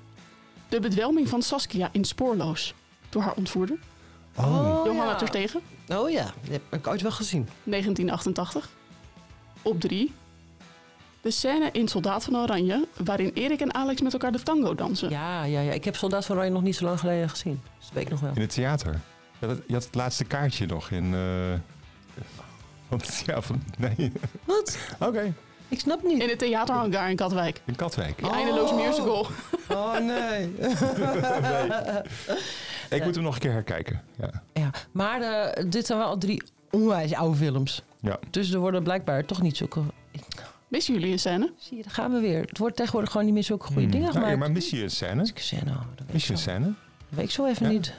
J: de bedwelming van Saskia in Spoorloos. Door haar ontvoerder,
B: Oh.
J: Johanna Terstegen,
A: Oh ja, die heb ik ooit wel gezien.
J: 1988. Op 3, De scène in Soldaat van Oranje, waarin Erik en Alex met elkaar de tango dansen.
K: Ja, ja, ja. Ik heb Soldaat van Oranje nog niet zo lang geleden gezien. Dus dat weet ik nog wel.
B: In het theater. Je had het, je had het laatste kaartje nog in... eh want, ja, van, nee.
A: Wat?
B: Oké,
A: Ik snap niet.
J: In het theaterhangar in Katwijk.
B: in Katwijk.
J: Die eindeloos musical.
A: Oh nee.
B: Nee. Ik moet hem nog een keer herkijken. Ja.
A: ja, maar eh, dit zijn wel al drie onwijs oude films.
B: Ja.
A: Dus er worden blijkbaar toch niet zulke...
J: Missen jullie een scène?
A: Zie je, daar gaan we weer. Het wordt tegenwoordig gewoon niet meer zulke goede dingen
B: Nou, ja,
A: gemaakt.
B: maar mis je een scène?
A: Ik zei, nou, dat weet,
B: Mis
A: ik
B: je een
A: zo,
B: scène?
A: dat weet ik zo even
B: Ja.
A: niet.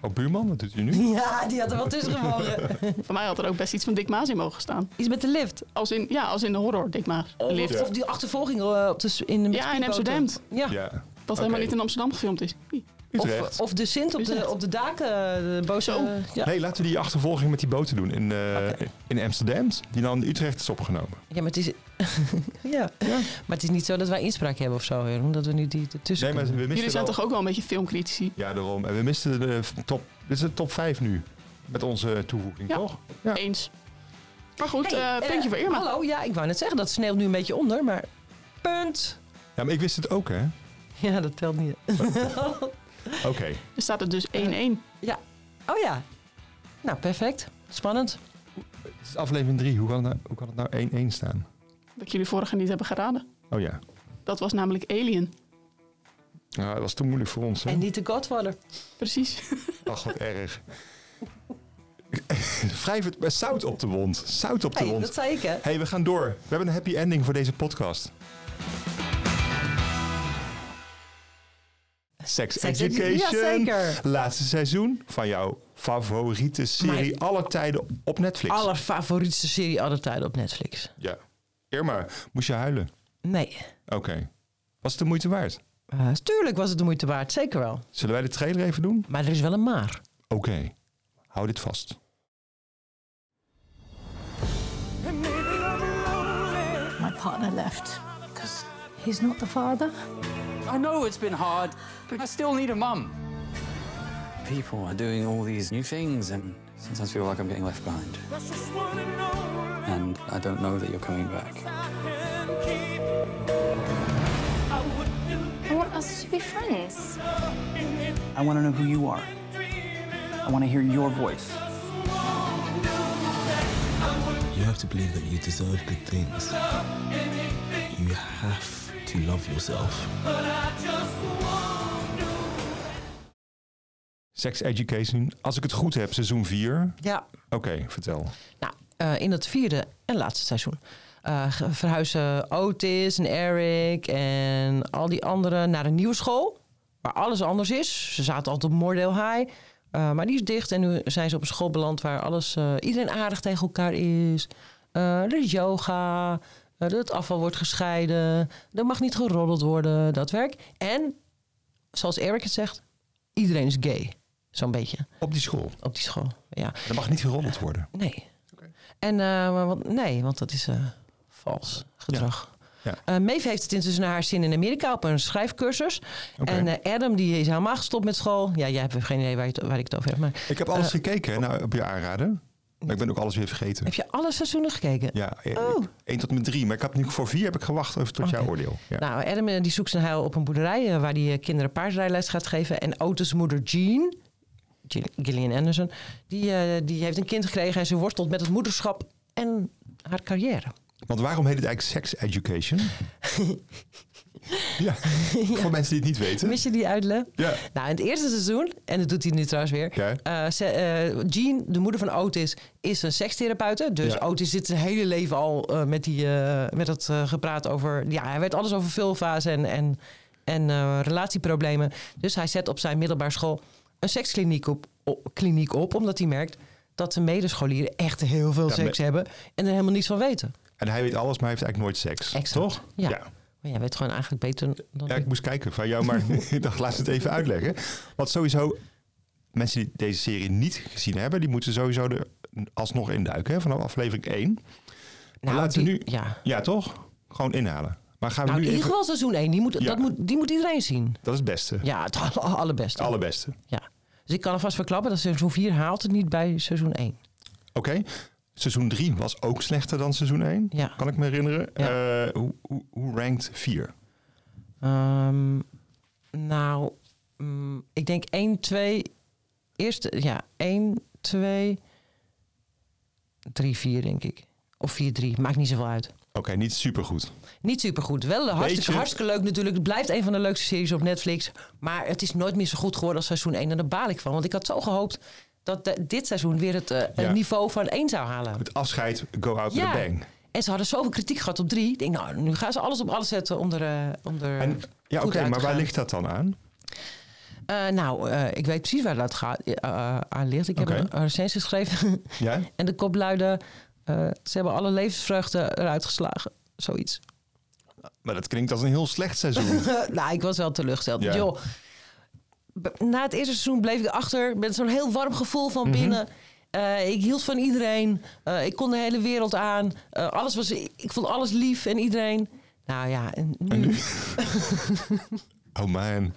B: Oh, buurman, wat doet u nu?
A: Ja, die had er wel tussen gemogen.
J: Voor mij had er ook best iets van Dick Maas in mogen staan.
A: Iets met de lift.
J: Als in, ja, als in de horror Dick Maas.
A: Of,
J: Lift.
A: of die achtervolging eh, op de, in de met
J: Ja, in
A: speedboten.
J: Amsterdam.
A: Ja.
B: Ja.
J: Wat helemaal niet in Amsterdam gefilmd is.
B: Utrecht.
A: Of, of de Sint op de, op de daken. eh, De boze,
J: Zo.
A: eh, ja.
B: Nee, laten we die achtervolging met die boten doen in, eh, in Amsterdam, die dan in Utrecht is opgenomen.
A: ja, maar het is... ja. Maar het is niet zo dat wij inspraak hebben of zo. Weer, omdat we nu die ertussen
B: Nee, maar we
A: kunnen.
B: misten
J: Jullie zijn
B: wel-
J: toch ook wel een beetje filmcritici?
B: Ja, daarom. En we misten de eh, top... Dit is de top 5 nu, met onze toevoeging,
J: Ja.
B: toch? Ja.
J: Eens. Maar goed,
A: Hey,
J: eh,
A: eh,
J: puntje voor Irma.
A: Hallo, ja, ik wou net zeggen, dat sneeuwt nu een beetje onder, maar... Punt.
B: Ja, maar ik wist het ook, hè?
A: Ja, dat telt niet.
B: Oké.
J: Er staat er dus 1-1.
A: ja. Oh ja. Nou, perfect. Spannend.
B: Het is aflevering 3. Hoe kan het nou- hoe kan het nou 1-1 staan?
J: Dat jullie vorige niet hebben geraden.
B: Oh ja.
J: Dat was namelijk Alien.
B: Nou, dat was toen moeilijk voor ons, hè?
A: En niet de Godfather.
J: Precies.
B: Ach, wat erg. Wrijf het met zout op de wond. Zout op de
A: Hey,
B: wond.
A: dat zei ik, hè?
B: hey, we gaan door. We hebben een happy ending voor deze podcast. Sex,
A: Sex Edu-
B: Education.
A: Ja, zeker.
B: Laatste seizoen van jouw favoriete serie
A: Mijn-
B: aller tijden op Netflix.
A: Allerfavorietste serie aller tijden op Netflix.
B: Ja. Irma, moest je huilen?
A: Nee.
B: Oké. Was het de moeite waard?
A: Eh, tuurlijk was het de moeite waard, zeker wel.
B: Zullen wij de trailer even doen?
A: Maar er is wel een maar.
B: Oké. Hou dit vast.
E: My partner left because he's not the father.
G: I know it's been hard, but I still need a mum. People are doing all these new things, and sometimes feel like I'm getting left behind. And I don't know that you're coming back.
E: I want us to be friends.
G: I want to know who you are. I want to hear your voice.
L: You have to believe that you deserve good things. You have to love yourself.
B: Sex Education. Als ik het goed heb, seizoen 4.
A: Ja.
B: Oké, vertel.
A: Nou, eh, in het vierde en laatste seizoen eh, ge- verhuizen Otis en Eric en al die anderen naar een nieuwe school. Waar alles anders is. Ze zaten altijd op Mordeel High. eh, maar die is dicht en nu zijn ze op een school beland waar alles, eh, iedereen aardig tegen elkaar is. Eh, er is yoga, eh, dat het afval wordt gescheiden, er mag niet geroddeld worden, dat werk. En, zoals Eric het zegt, iedereen is gay. Zo'n beetje,
B: Op die school.
A: op die school. Ja.
B: Dat mag niet geroddeld worden.
A: Nee. En, eh, maar want, nee, want dat is eh, vals gedrag.
B: Ja.
A: Eh, Maeve heeft het intussen naar haar zin in Amerika op een schrijfcursus.
B: Oké.
A: En eh, Adam die is helemaal gestopt met school. Ja, jij hebt geen idee waar, je het- waar ik het over heb. Maar
B: Ik heb alles gekeken hè, nou, op je aanraden. Maar ik ben ook alles weer vergeten.
A: heb je alle seizoenen gekeken?
B: Ja,
A: Oh.
B: 1 tot en met 3. Maar ik heb nu voor 4 heb ik gewacht over tot jouw oordeel. Ja.
A: Nou, Adam eh, die zoekt zijn heil op een boerderij eh, waar hij kinderen paardrijles gaat geven. En Otis moeder Jean, Jill- Gillian Anderson, die, eh, die heeft een kind gekregen en ze worstelt met het moederschap en haar carrière.
B: Want waarom heet het eigenlijk sex education? ja, voor mensen die het niet weten.
A: Mis je die uitleg?
B: Ja.
A: Nou, in het eerste seizoen, en dat doet hij nu trouwens weer.
B: Ja.
A: eh, ze- eh, Jean, de moeder van Otis, is een sekstherapeute. Dus
B: Ja.
A: Otis zit zijn hele leven al eh, met, die, eh, met dat eh, gepraat over. Ja, hij weet alles over vulva's en, en, en eh, relatieproblemen. Dus hij zet op zijn middelbare school een sekskliniek op, o- kliniek op, omdat hij merkt dat zijn medescholieren echt heel veel
B: Ja,
A: seks
B: maar-
A: hebben en er helemaal niets van weten.
B: En hij weet alles, maar hij heeft eigenlijk nooit seks.
A: Exact.
B: Toch?
A: Ja.
B: ja.
A: Maar jij weet gewoon eigenlijk beter dan
B: Ja,
A: ik.
B: ik moest kijken van jou, maar ik dacht, laat het even uitleggen. Want sowieso, mensen die deze serie niet gezien hebben, die moeten sowieso er alsnog induiken hè, vanaf aflevering 1.
A: Nou,
B: laten we
A: die-
B: nu-
A: Ja.
B: Ja, toch? Gewoon inhalen. Maar gaan we
A: Nou, in
B: nu
A: ieder
B: even...
A: geval seizoen 1. Die moet,
B: Ja.
A: dat moet, die moet iedereen zien.
B: Dat is het beste.
A: Ja, het alle- allerbeste.
B: Het allerbeste.
A: Ja. Dus ik kan alvast verklappen dat seizoen 4 haalt het niet bij seizoen 1.
B: Oké. Seizoen 3 was ook slechter dan seizoen 1, kan ik me herinneren. Eh, hoe, hoe, hoe rankt 4?
A: Ehm, nou, mm, ik denk 1, 2. Eerst, ja, 1, 2, 3, 4, denk ik. Of 4, 3. Maakt niet zoveel uit.
B: Oké, niet supergoed.
A: Niet supergoed. Wel hartstikke, hartstikke leuk natuurlijk. Het blijft een van de leukste series op Netflix. Maar het is nooit meer zo goed geworden als seizoen 1. En daar baal ik van. Want ik had zo gehoopt dat de- dit seizoen weer het eh,
B: Ja.
A: niveau van 1 zou halen.
B: Het afscheid, go out with a bang.
A: En ze hadden zoveel kritiek gehad op 3. Ik denk, nou, nu gaan ze alles op alles zetten om er, eh, om er
B: En, ja, oké, maar waar ligt dat dan aan?
A: Eh, nou, eh, ik weet precies waar dat gaat, eh, aan ligt. Ik
B: Oké.
A: heb een recensie geschreven.
B: Ja?
A: en de kop luidde... eh, ze hebben alle levensvreugde eruit geslagen. Zoiets.
B: Maar dat klinkt als een heel slecht seizoen.
A: nou, ik was wel teleurgesteld.
B: Ja.
A: Joh, b- na het eerste seizoen bleef ik achter met zo'n heel warm gevoel van
B: Mhm.
A: binnen. Eh, ik hield van iedereen. Eh, ik kon de hele wereld aan. Eh, alles was, ik vond alles lief en iedereen. Nou ja, en nu? Hmm.
B: oh man.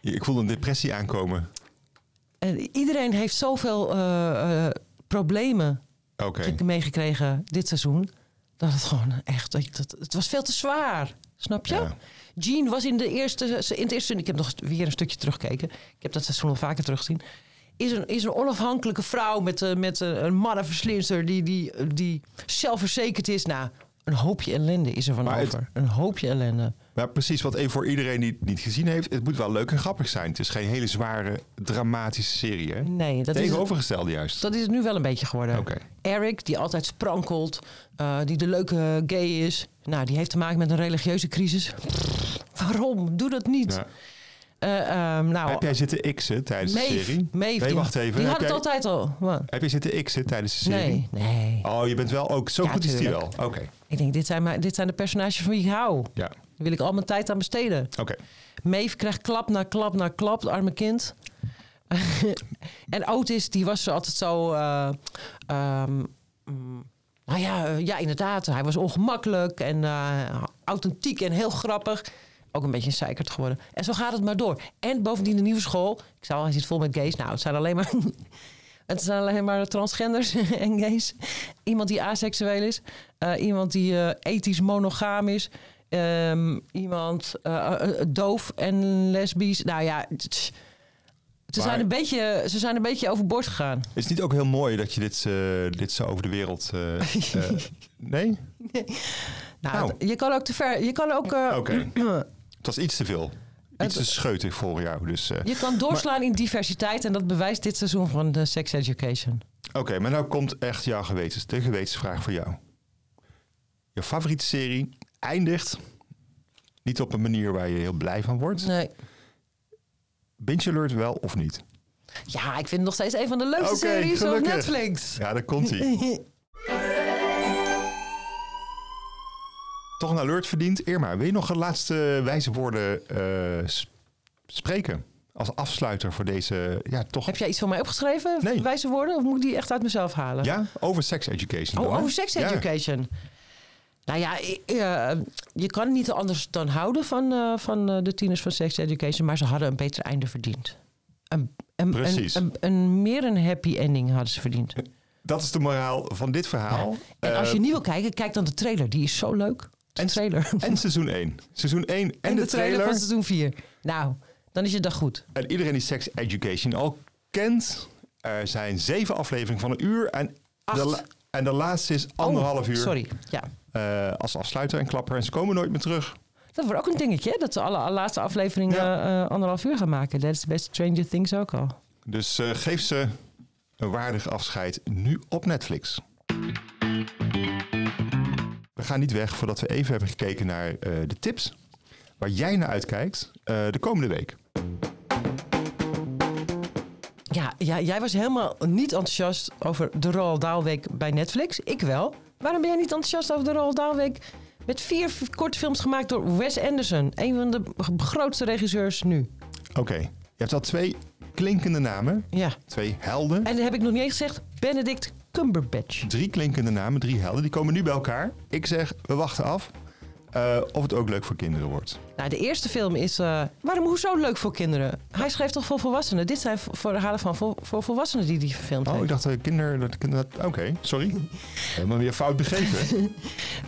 B: Ik voel een depressie aankomen.
A: En iedereen heeft zoveel eh, eh, problemen
B: Oké.
A: gek- meegekregen dit seizoen. Dat het gewoon echt. dat- Dat, het was veel te zwaar. Snap je? Jean was in, de eerste, in het eerste. Ik heb nog weer een stukje teruggekeken. Ik heb dat seizoen al vaker teruggezien. Is een, is een onafhankelijke vrouw met, eh, met een, een mannenverslinster die, die, die zelfverzekerd is. Nou, een hoopje ellende is er van
B: Maar het-
A: over. Een hoopje ellende.
B: Maar precies, wat even voor iedereen die het niet gezien heeft, het moet wel leuk en grappig zijn. Het is geen hele zware, dramatische serie. Hè?
A: Nee, dat is het-
B: Tegenovergestelde juist.
A: Dus Dat is het nu wel een beetje geworden. Eric, die altijd sprankelt, eh, die de leuke gay is. Nou, die heeft te maken met een religieuze crisis. Pff, waarom? Doe dat niet.
B: Ja.
A: Eh, ehm, nou,
B: Heb jij zitten x'en tijdens de
A: Maeve,
B: serie?
A: Maeve,
B: nee,
A: die-
B: wacht even.
A: die
B: heb
A: had het
B: jij-
A: altijd al. Wat?
B: Heb je zitten x'en tijdens de serie?
A: Nee, nee.
B: Oh, je bent wel ook... Zo
A: Ja,
B: goed is die wel.
A: tuurlijk.
B: Oké,
A: Ik denk, dit zijn, mijn, dit zijn de personages van wie ik hou.
B: Ja.
A: Daar wil ik al mijn tijd aan besteden.
B: oké.
A: Maeve krijgt klap na klap na klap, het arme kind. en Otis, die was altijd zo... eh, ehm, mm, nou ja, eh, ja, inderdaad. Hij was ongemakkelijk en eh, authentiek en heel grappig. Ook een beetje een zeikert geworden. En zo gaat het maar door. En bovendien de nieuwe school. Ik zou al, hij zit vol met gays. Nou, het zijn alleen maar... Het zijn alleen maar transgenders en gays. Iemand die aseksueel is. eh, iemand die eh, ethisch monogaam is. Ehm, iemand eh, eh, eh, doof en lesbisch. Nou ja, tss. ze,
B: Maar-
A: zijn een beetje, ze zijn een beetje overboord gegaan.
B: Is het niet ook heel mooi dat je dit, eh, dit zo over de wereld... eh, eh, nee?
A: Nou, Je kan ook te ver. Je kan ook. eh,
B: Oké. Het was iets te veel. Iets te scheutig voor jou. Dus, eh,
A: Je kan doorslaan in diversiteit en dat bewijst dit seizoen van de Sex Education.
B: Oké, maar nou komt echt jouw gewetens, de gewetensvraag voor jou. Je favoriete serie eindigt niet op een manier waar je heel blij van wordt.
A: Nee.
B: Binge Alert wel of niet?
A: Ja, ik vind het nog steeds een van de leukste
B: Oké,
A: series
B: gelukkig.
A: op Netflix.
B: Ja, daar komt hij. Toch een alert verdient. Irma, wil je nog de laatste wijze woorden eh, s- spreken? Als afsluiter voor deze, ja toch...
A: Heb jij iets voor mij opgeschreven? Wijze woorden? Of moet ik die echt uit mezelf halen?
B: Ja, over sex education.
A: Oh,
B: dan, hè?
A: over sex
B: Ja.
A: education. Nou ja, i- eh, je kan niet anders dan houden van, eh, van eh, de tieners van sex education, maar ze hadden een beter einde verdiend. Een, een,
B: Precies.
A: Een, een, een- meer een happy ending hadden ze verdiend.
B: Dat is de moraal van dit verhaal.
A: En als je
B: Eh,
A: niet wil kijken, kijk dan de trailer. Die is zo leuk. En trailer.
B: En seizoen 1. Seizoen 1 en,
A: En
B: de,
A: de trailer van seizoen 4. Nou, dan is je dag goed.
B: En iedereen die Sex Education al kent, er zijn zeven afleveringen van een uur. En, de, la- en de laatste is anderhalf uur.
A: Oh, sorry. Ja.
B: Eh, als afsluiter en klapper. En ze komen nooit meer terug.
A: Dat wordt ook een dingetje, hè? dat ze alle laatste aflevering eh, eh, anderhalf uur gaan maken. Dat is bij Stranger Things ook al.
B: Dus eh, geef ze een waardig afscheid nu op Netflix. We gaan niet weg voordat we even hebben gekeken naar eh, de tips. Waar jij naar uitkijkt eh, de komende week.
A: Ja, ja, jij was helemaal niet enthousiast over de Roald Dahl Week bij Netflix. Ik wel. Waarom ben jij niet enthousiast over de Roald Dahl Week? Met vier v- korte films gemaakt door Wes Anderson. Een van de g- grootste regisseurs nu.
B: Oké, je hebt al twee klinkende namen.
A: Ja.
B: Twee helden.
A: En dan heb ik nog niet eens gezegd, Benedict Cumberbatch.
B: Drie klinkende namen, drie helden, die komen nu bij elkaar. Ik zeg, we wachten af. Eh, eh, of het ook leuk voor kinderen wordt.
A: Nou, de eerste film is. eh, waarom, hoezo leuk voor kinderen? Hij schreef toch voor volwassenen? Dit zijn v- verhalen van vol- voor volwassenen die die verfilmd
B: Oh,
A: heeft.
B: ik dacht eh, kinder... dat kinder- Oké, sorry. Helemaal weer fout begrepen.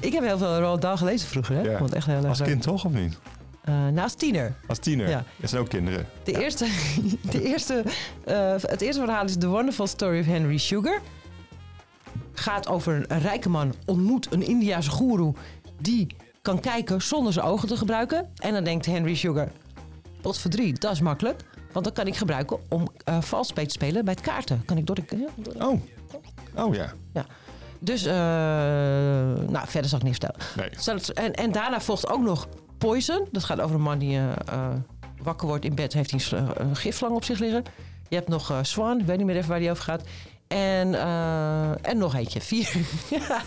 A: Ik heb heel veel Roald Dahl gelezen vroeger, hè?
B: Ja.
A: Want echt heel erg
B: Als
A: leuk.
B: kind toch, of niet?
A: Eh, nou, als tiener.
B: Als tiener.
A: Ja.
B: Dat zijn ook kinderen.
A: De eerste, de eerste, eh, het eerste verhaal is The Wonderful Story of Henry Sugar. Gaat over een rijke man ontmoet een Indiaanse goeroe die kan kijken zonder zijn ogen te gebruiken. En dan denkt Henry Sugar, pot voor drie, dat is makkelijk. Want dat kan ik gebruiken om eh vals mee te spelen bij het kaarten. Kan ik door de...
B: Oh. Oh ja.
A: Ja. Dus, eh, nou, verder zal ik niks vertellen. Zal het- En, en daarna volgt ook nog Poison. Dat gaat over een man die eh, eh, wakker wordt in bed. Heeft hij een, sl- een gifslang op zich liggen. Je hebt nog eh, Swan. Ik weet niet meer even waar die over gaat. En, eh, en nog eentje. Vier.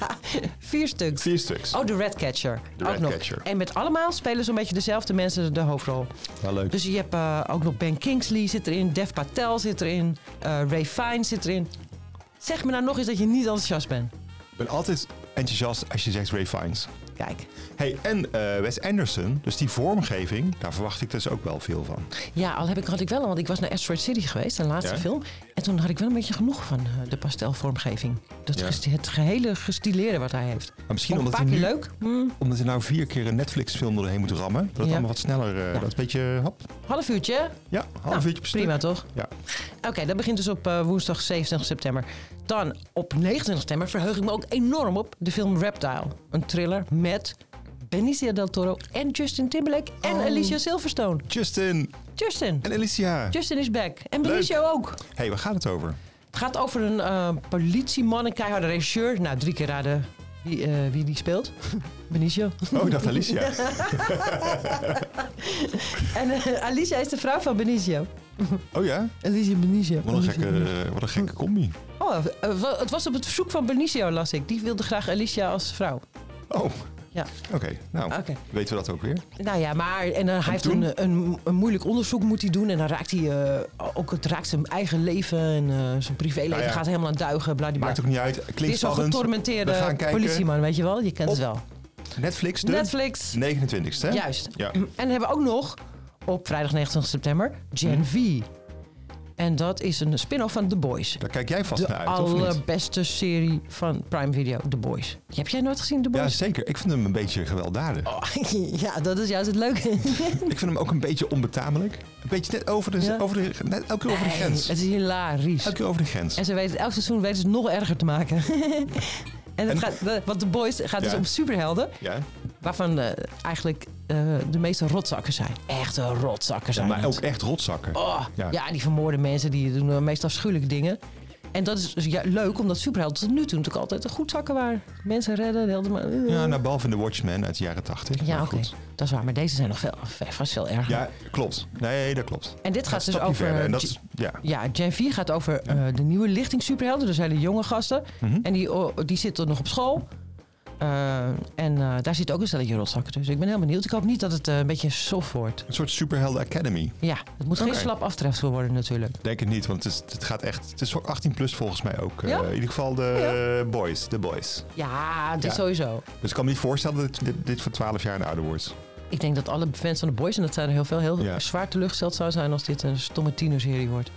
A: Vier stuks.
B: Vier stuks.
A: Oh, de Redcatcher.
B: The
A: ook nog.
B: Redcatcher.
A: En met allemaal spelen zo'n beetje dezelfde mensen de hoofdrol.
B: Wel leuk.
A: Dus je hebt eh, ook nog Ben Kingsley zit erin. Dev Patel zit erin. eh, Ray Fiennes zit erin. Zeg me nou nog eens dat je niet enthousiast bent.
B: Ik ben altijd enthousiast als je zegt Ray Fiennes.
A: Kijk.
B: Hey, en eh Wes Anderson, dus die vormgeving, daar verwacht ik dus ook wel veel van.
A: Ja, al heb ik, had ik wel, want ik was naar Asteroid City geweest, de laatste
B: Ja?
A: film. En toen had ik wel een beetje genoeg van eh, de pastelvormgeving. Dat
B: Ja.
A: gest- het gehele gestileerde wat hij heeft.
B: Maar misschien
A: Ook een
B: omdat
A: paar
B: hij
A: keer
B: nu-
A: leuk. Hmm.
B: Omdat je nou vier keer een Netflix-film doorheen moet rammen, dat het
A: Ja.
B: allemaal wat sneller, eh, dat is een beetje, hop,
A: Hm, Half uurtje. hè?
B: ja, half
A: Nou,
B: uurtje per stuk.
A: Prima toch?
B: Ja.
A: Oké, dat begint dus op eh, woensdag 27 september. Dan op 29 september verheug ik me ook enorm op de film Reptile. Een thriller met Benicio del Toro en Justin Timberlake en
B: Oh.
A: Alicia Silverstone.
B: Justin
A: Justin.
B: en Alicia.
A: Justin is back. En
B: Leuk.
A: Benicio ook.
B: hey, waar gaat het over?
A: Het gaat over een eh, politieman, een keiharde regisseur. Nou, drie keer raden wie, eh, wie die speelt. Benicio.
B: Oh, ik dacht Alicia.
A: en eh, Alicia is de vrouw van Benicio.
B: Oh ja?
A: Alicia Benicio.
B: Wat een gekke, eh, wat een gekke combi.
A: Oh, eh, wa- het was op het verzoek van Benicio, las ik. Die wilde graag Alicia als vrouw.
B: Oh, oké.
A: Ja. Ah.
B: Nou,
A: Oké.
B: weten we dat ook weer.
A: Nou ja, maar en, eh, hij heeft
B: toen?
A: een, een, een moeilijk onderzoek moet hij doen. En dan raakt hij eh, ook het raakt zijn eigen leven en eh, zijn privéleven
B: Nou ja.
A: gaat helemaal aan duigen. Bladibla.
B: Maakt ook niet uit. Klinkt
A: Het is zo'n
B: spannend. We gaan
A: getormenteerde
B: kijken.
A: politieman, weet je wel? Je kent
B: Op
A: het wel.
B: Netflix, de
A: Netflix.
B: 29ste, hè?
A: Juist. Mm.
B: Ja.
A: En dan hebben we ook nog op vrijdag 29 september Gen
B: Mhm.
A: V. En dat is een spin-off van The Boys.
B: Daar kijk jij vast
A: de
B: naar nou uit, of niet?
A: allerbeste serie van Prime Video, The Boys. Die Heb jij nooit gezien, The
B: Ja,
A: Boys?
B: zeker. Ik vind hem een beetje gewelddadig.
A: Oh. ja, dat is juist het leuke.
B: Ik vind hem ook een beetje onbetamelijk. Een beetje net over de,
A: Ja?
B: over de, net elke keer over de
A: Nee,
B: grens.
A: het is hilarisch.
B: Elke keer over de grens.
A: En ze weten, elk seizoen weten ze het nog erger te maken. en het gaat, de- want The Boys gaat dus
B: Ja.
A: om superhelden.
B: Ja.
A: Waarvan eh, eigenlijk eh, de meeste rotzakken zijn. Echte rotzakken zijn.
B: Ja, maar
A: het.
B: ook echt rotzakken.
A: Oh,
B: Ja.
A: ja. die vermoorden mensen, die doen de meest afschuwelijke dingen. En dat is dus ja, leuk, omdat superhelden tot nu toe natuurlijk altijd de goedzakken waren. Mensen redden, de helden maar... eh.
B: Ja, nou, behalve in The Watchmen uit de jaren 80.
A: Ja,
B: maar
A: oké.
B: goed.
A: Dat is waar, maar deze zijn nog veel, vast veel erger.
B: Ja, klopt. Nee, dat klopt.
A: En dit gaat dus
B: een stapje
A: over,
B: verder. En dat
A: eh,
B: is, ja.
A: Ja, Gen 4 gaat over eh, de nieuwe lichting superhelden. Dus hele jonge gasten.
B: Mhm.
A: En die, oh, die zitten nog op school. Eh, en eh, daar zit ook een stelletje rotzakken tussen. Ik ben heel benieuwd. Ik hoop niet dat het eh, een beetje soft wordt.
B: Een soort superhelden academy.
A: Ja, het moet
B: Oké.
A: geen slap aftrefsel worden natuurlijk.
B: Denk het niet, want het, is, het gaat echt... Het is voor 18 plus volgens mij ook. eh,
A: Ja? Oh,
B: in ieder geval de eh, boys. De boys.
A: Ja, het is
B: Ja.
A: sowieso.
B: Dus ik kan me niet voorstellen dat dit, dit, dit voor 12 jaar en ouder wordt.
A: Ik denk dat alle fans van de boys, en dat zijn er heel veel, heel
B: Ja.
A: zwaar teleurgesteld zou zijn als dit een stomme tienerserie wordt.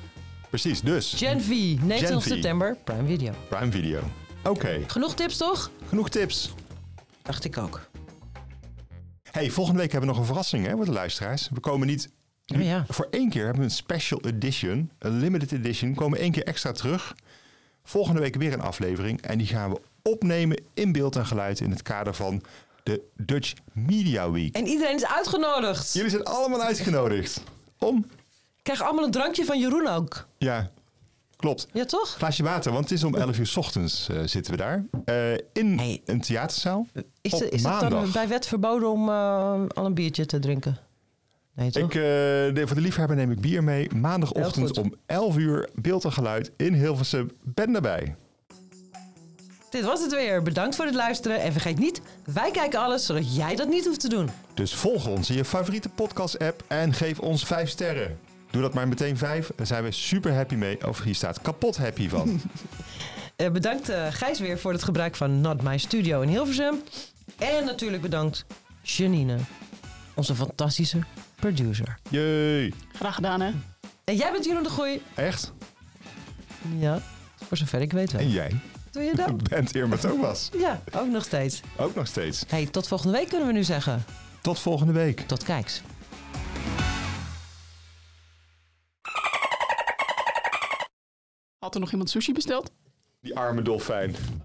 B: Precies, dus.
A: Gen V, 19
B: V.
A: september, Prime Video.
B: Prime Video. Oké,
A: Genoeg tips toch?
B: genoeg tips.
A: Dacht ik ook.
B: Hey, volgende week hebben we nog een verrassing hè, voor de luisteraars. We komen niet...
A: Ja, Oh, ja.
B: Voor één keer hebben we een special edition, een limited edition. We komen één keer extra terug. Volgende week weer een aflevering. En die gaan we opnemen in beeld en geluid in het kader van de Dutch Media Week.
A: En iedereen is uitgenodigd.
B: Jullie zijn allemaal uitgenodigd. Om?
A: Krijg allemaal een drankje van Jeroen ook.
B: Ja, klopt.
A: Ja, toch?
B: Glaasje water, want het is om 11 uur 's ochtends eh, zitten we daar. Eh, in een theaterzaal.
A: Is,
B: op
A: de- is het
B: maandag.
A: dan bij wet verboden om eh, al een biertje te drinken? Nee, toch?
B: Ik, eh, nee, voor de liefhebber neem ik bier mee. Maandagochtend
A: Heel goed.
B: om 11 uur, beeld en geluid in Hilversum. Ben daarbij.
A: Dit was het weer. Bedankt voor het luisteren. En vergeet niet, wij kijken alles zodat jij dat niet hoeft te doen.
B: Dus volg ons in je favoriete podcast-app en geef ons 5 sterren. Doe dat maar meteen 5, daar zijn we super happy mee. Of hier staat kapot happy van.
A: Eh, bedankt eh, Gijs weer voor het gebruik van Not My Studio in Hilversum. En natuurlijk bedankt Janine. Onze fantastische producer.
B: Jee.
J: Graag gedaan, hè?
A: En jij bent Jeroen de Gooi.
B: Echt?
A: Ja, voor zover ik weet wel.
B: En jij?
A: Doe je dat?
B: Bent Irma Thomas.
A: Ja, ook nog steeds.
B: Ook nog steeds.
A: hey, tot volgende week kunnen we nu zeggen.
B: Tot volgende week.
A: Tot kijks.
J: Had er nog iemand sushi besteld?
B: Die arme dolfijn.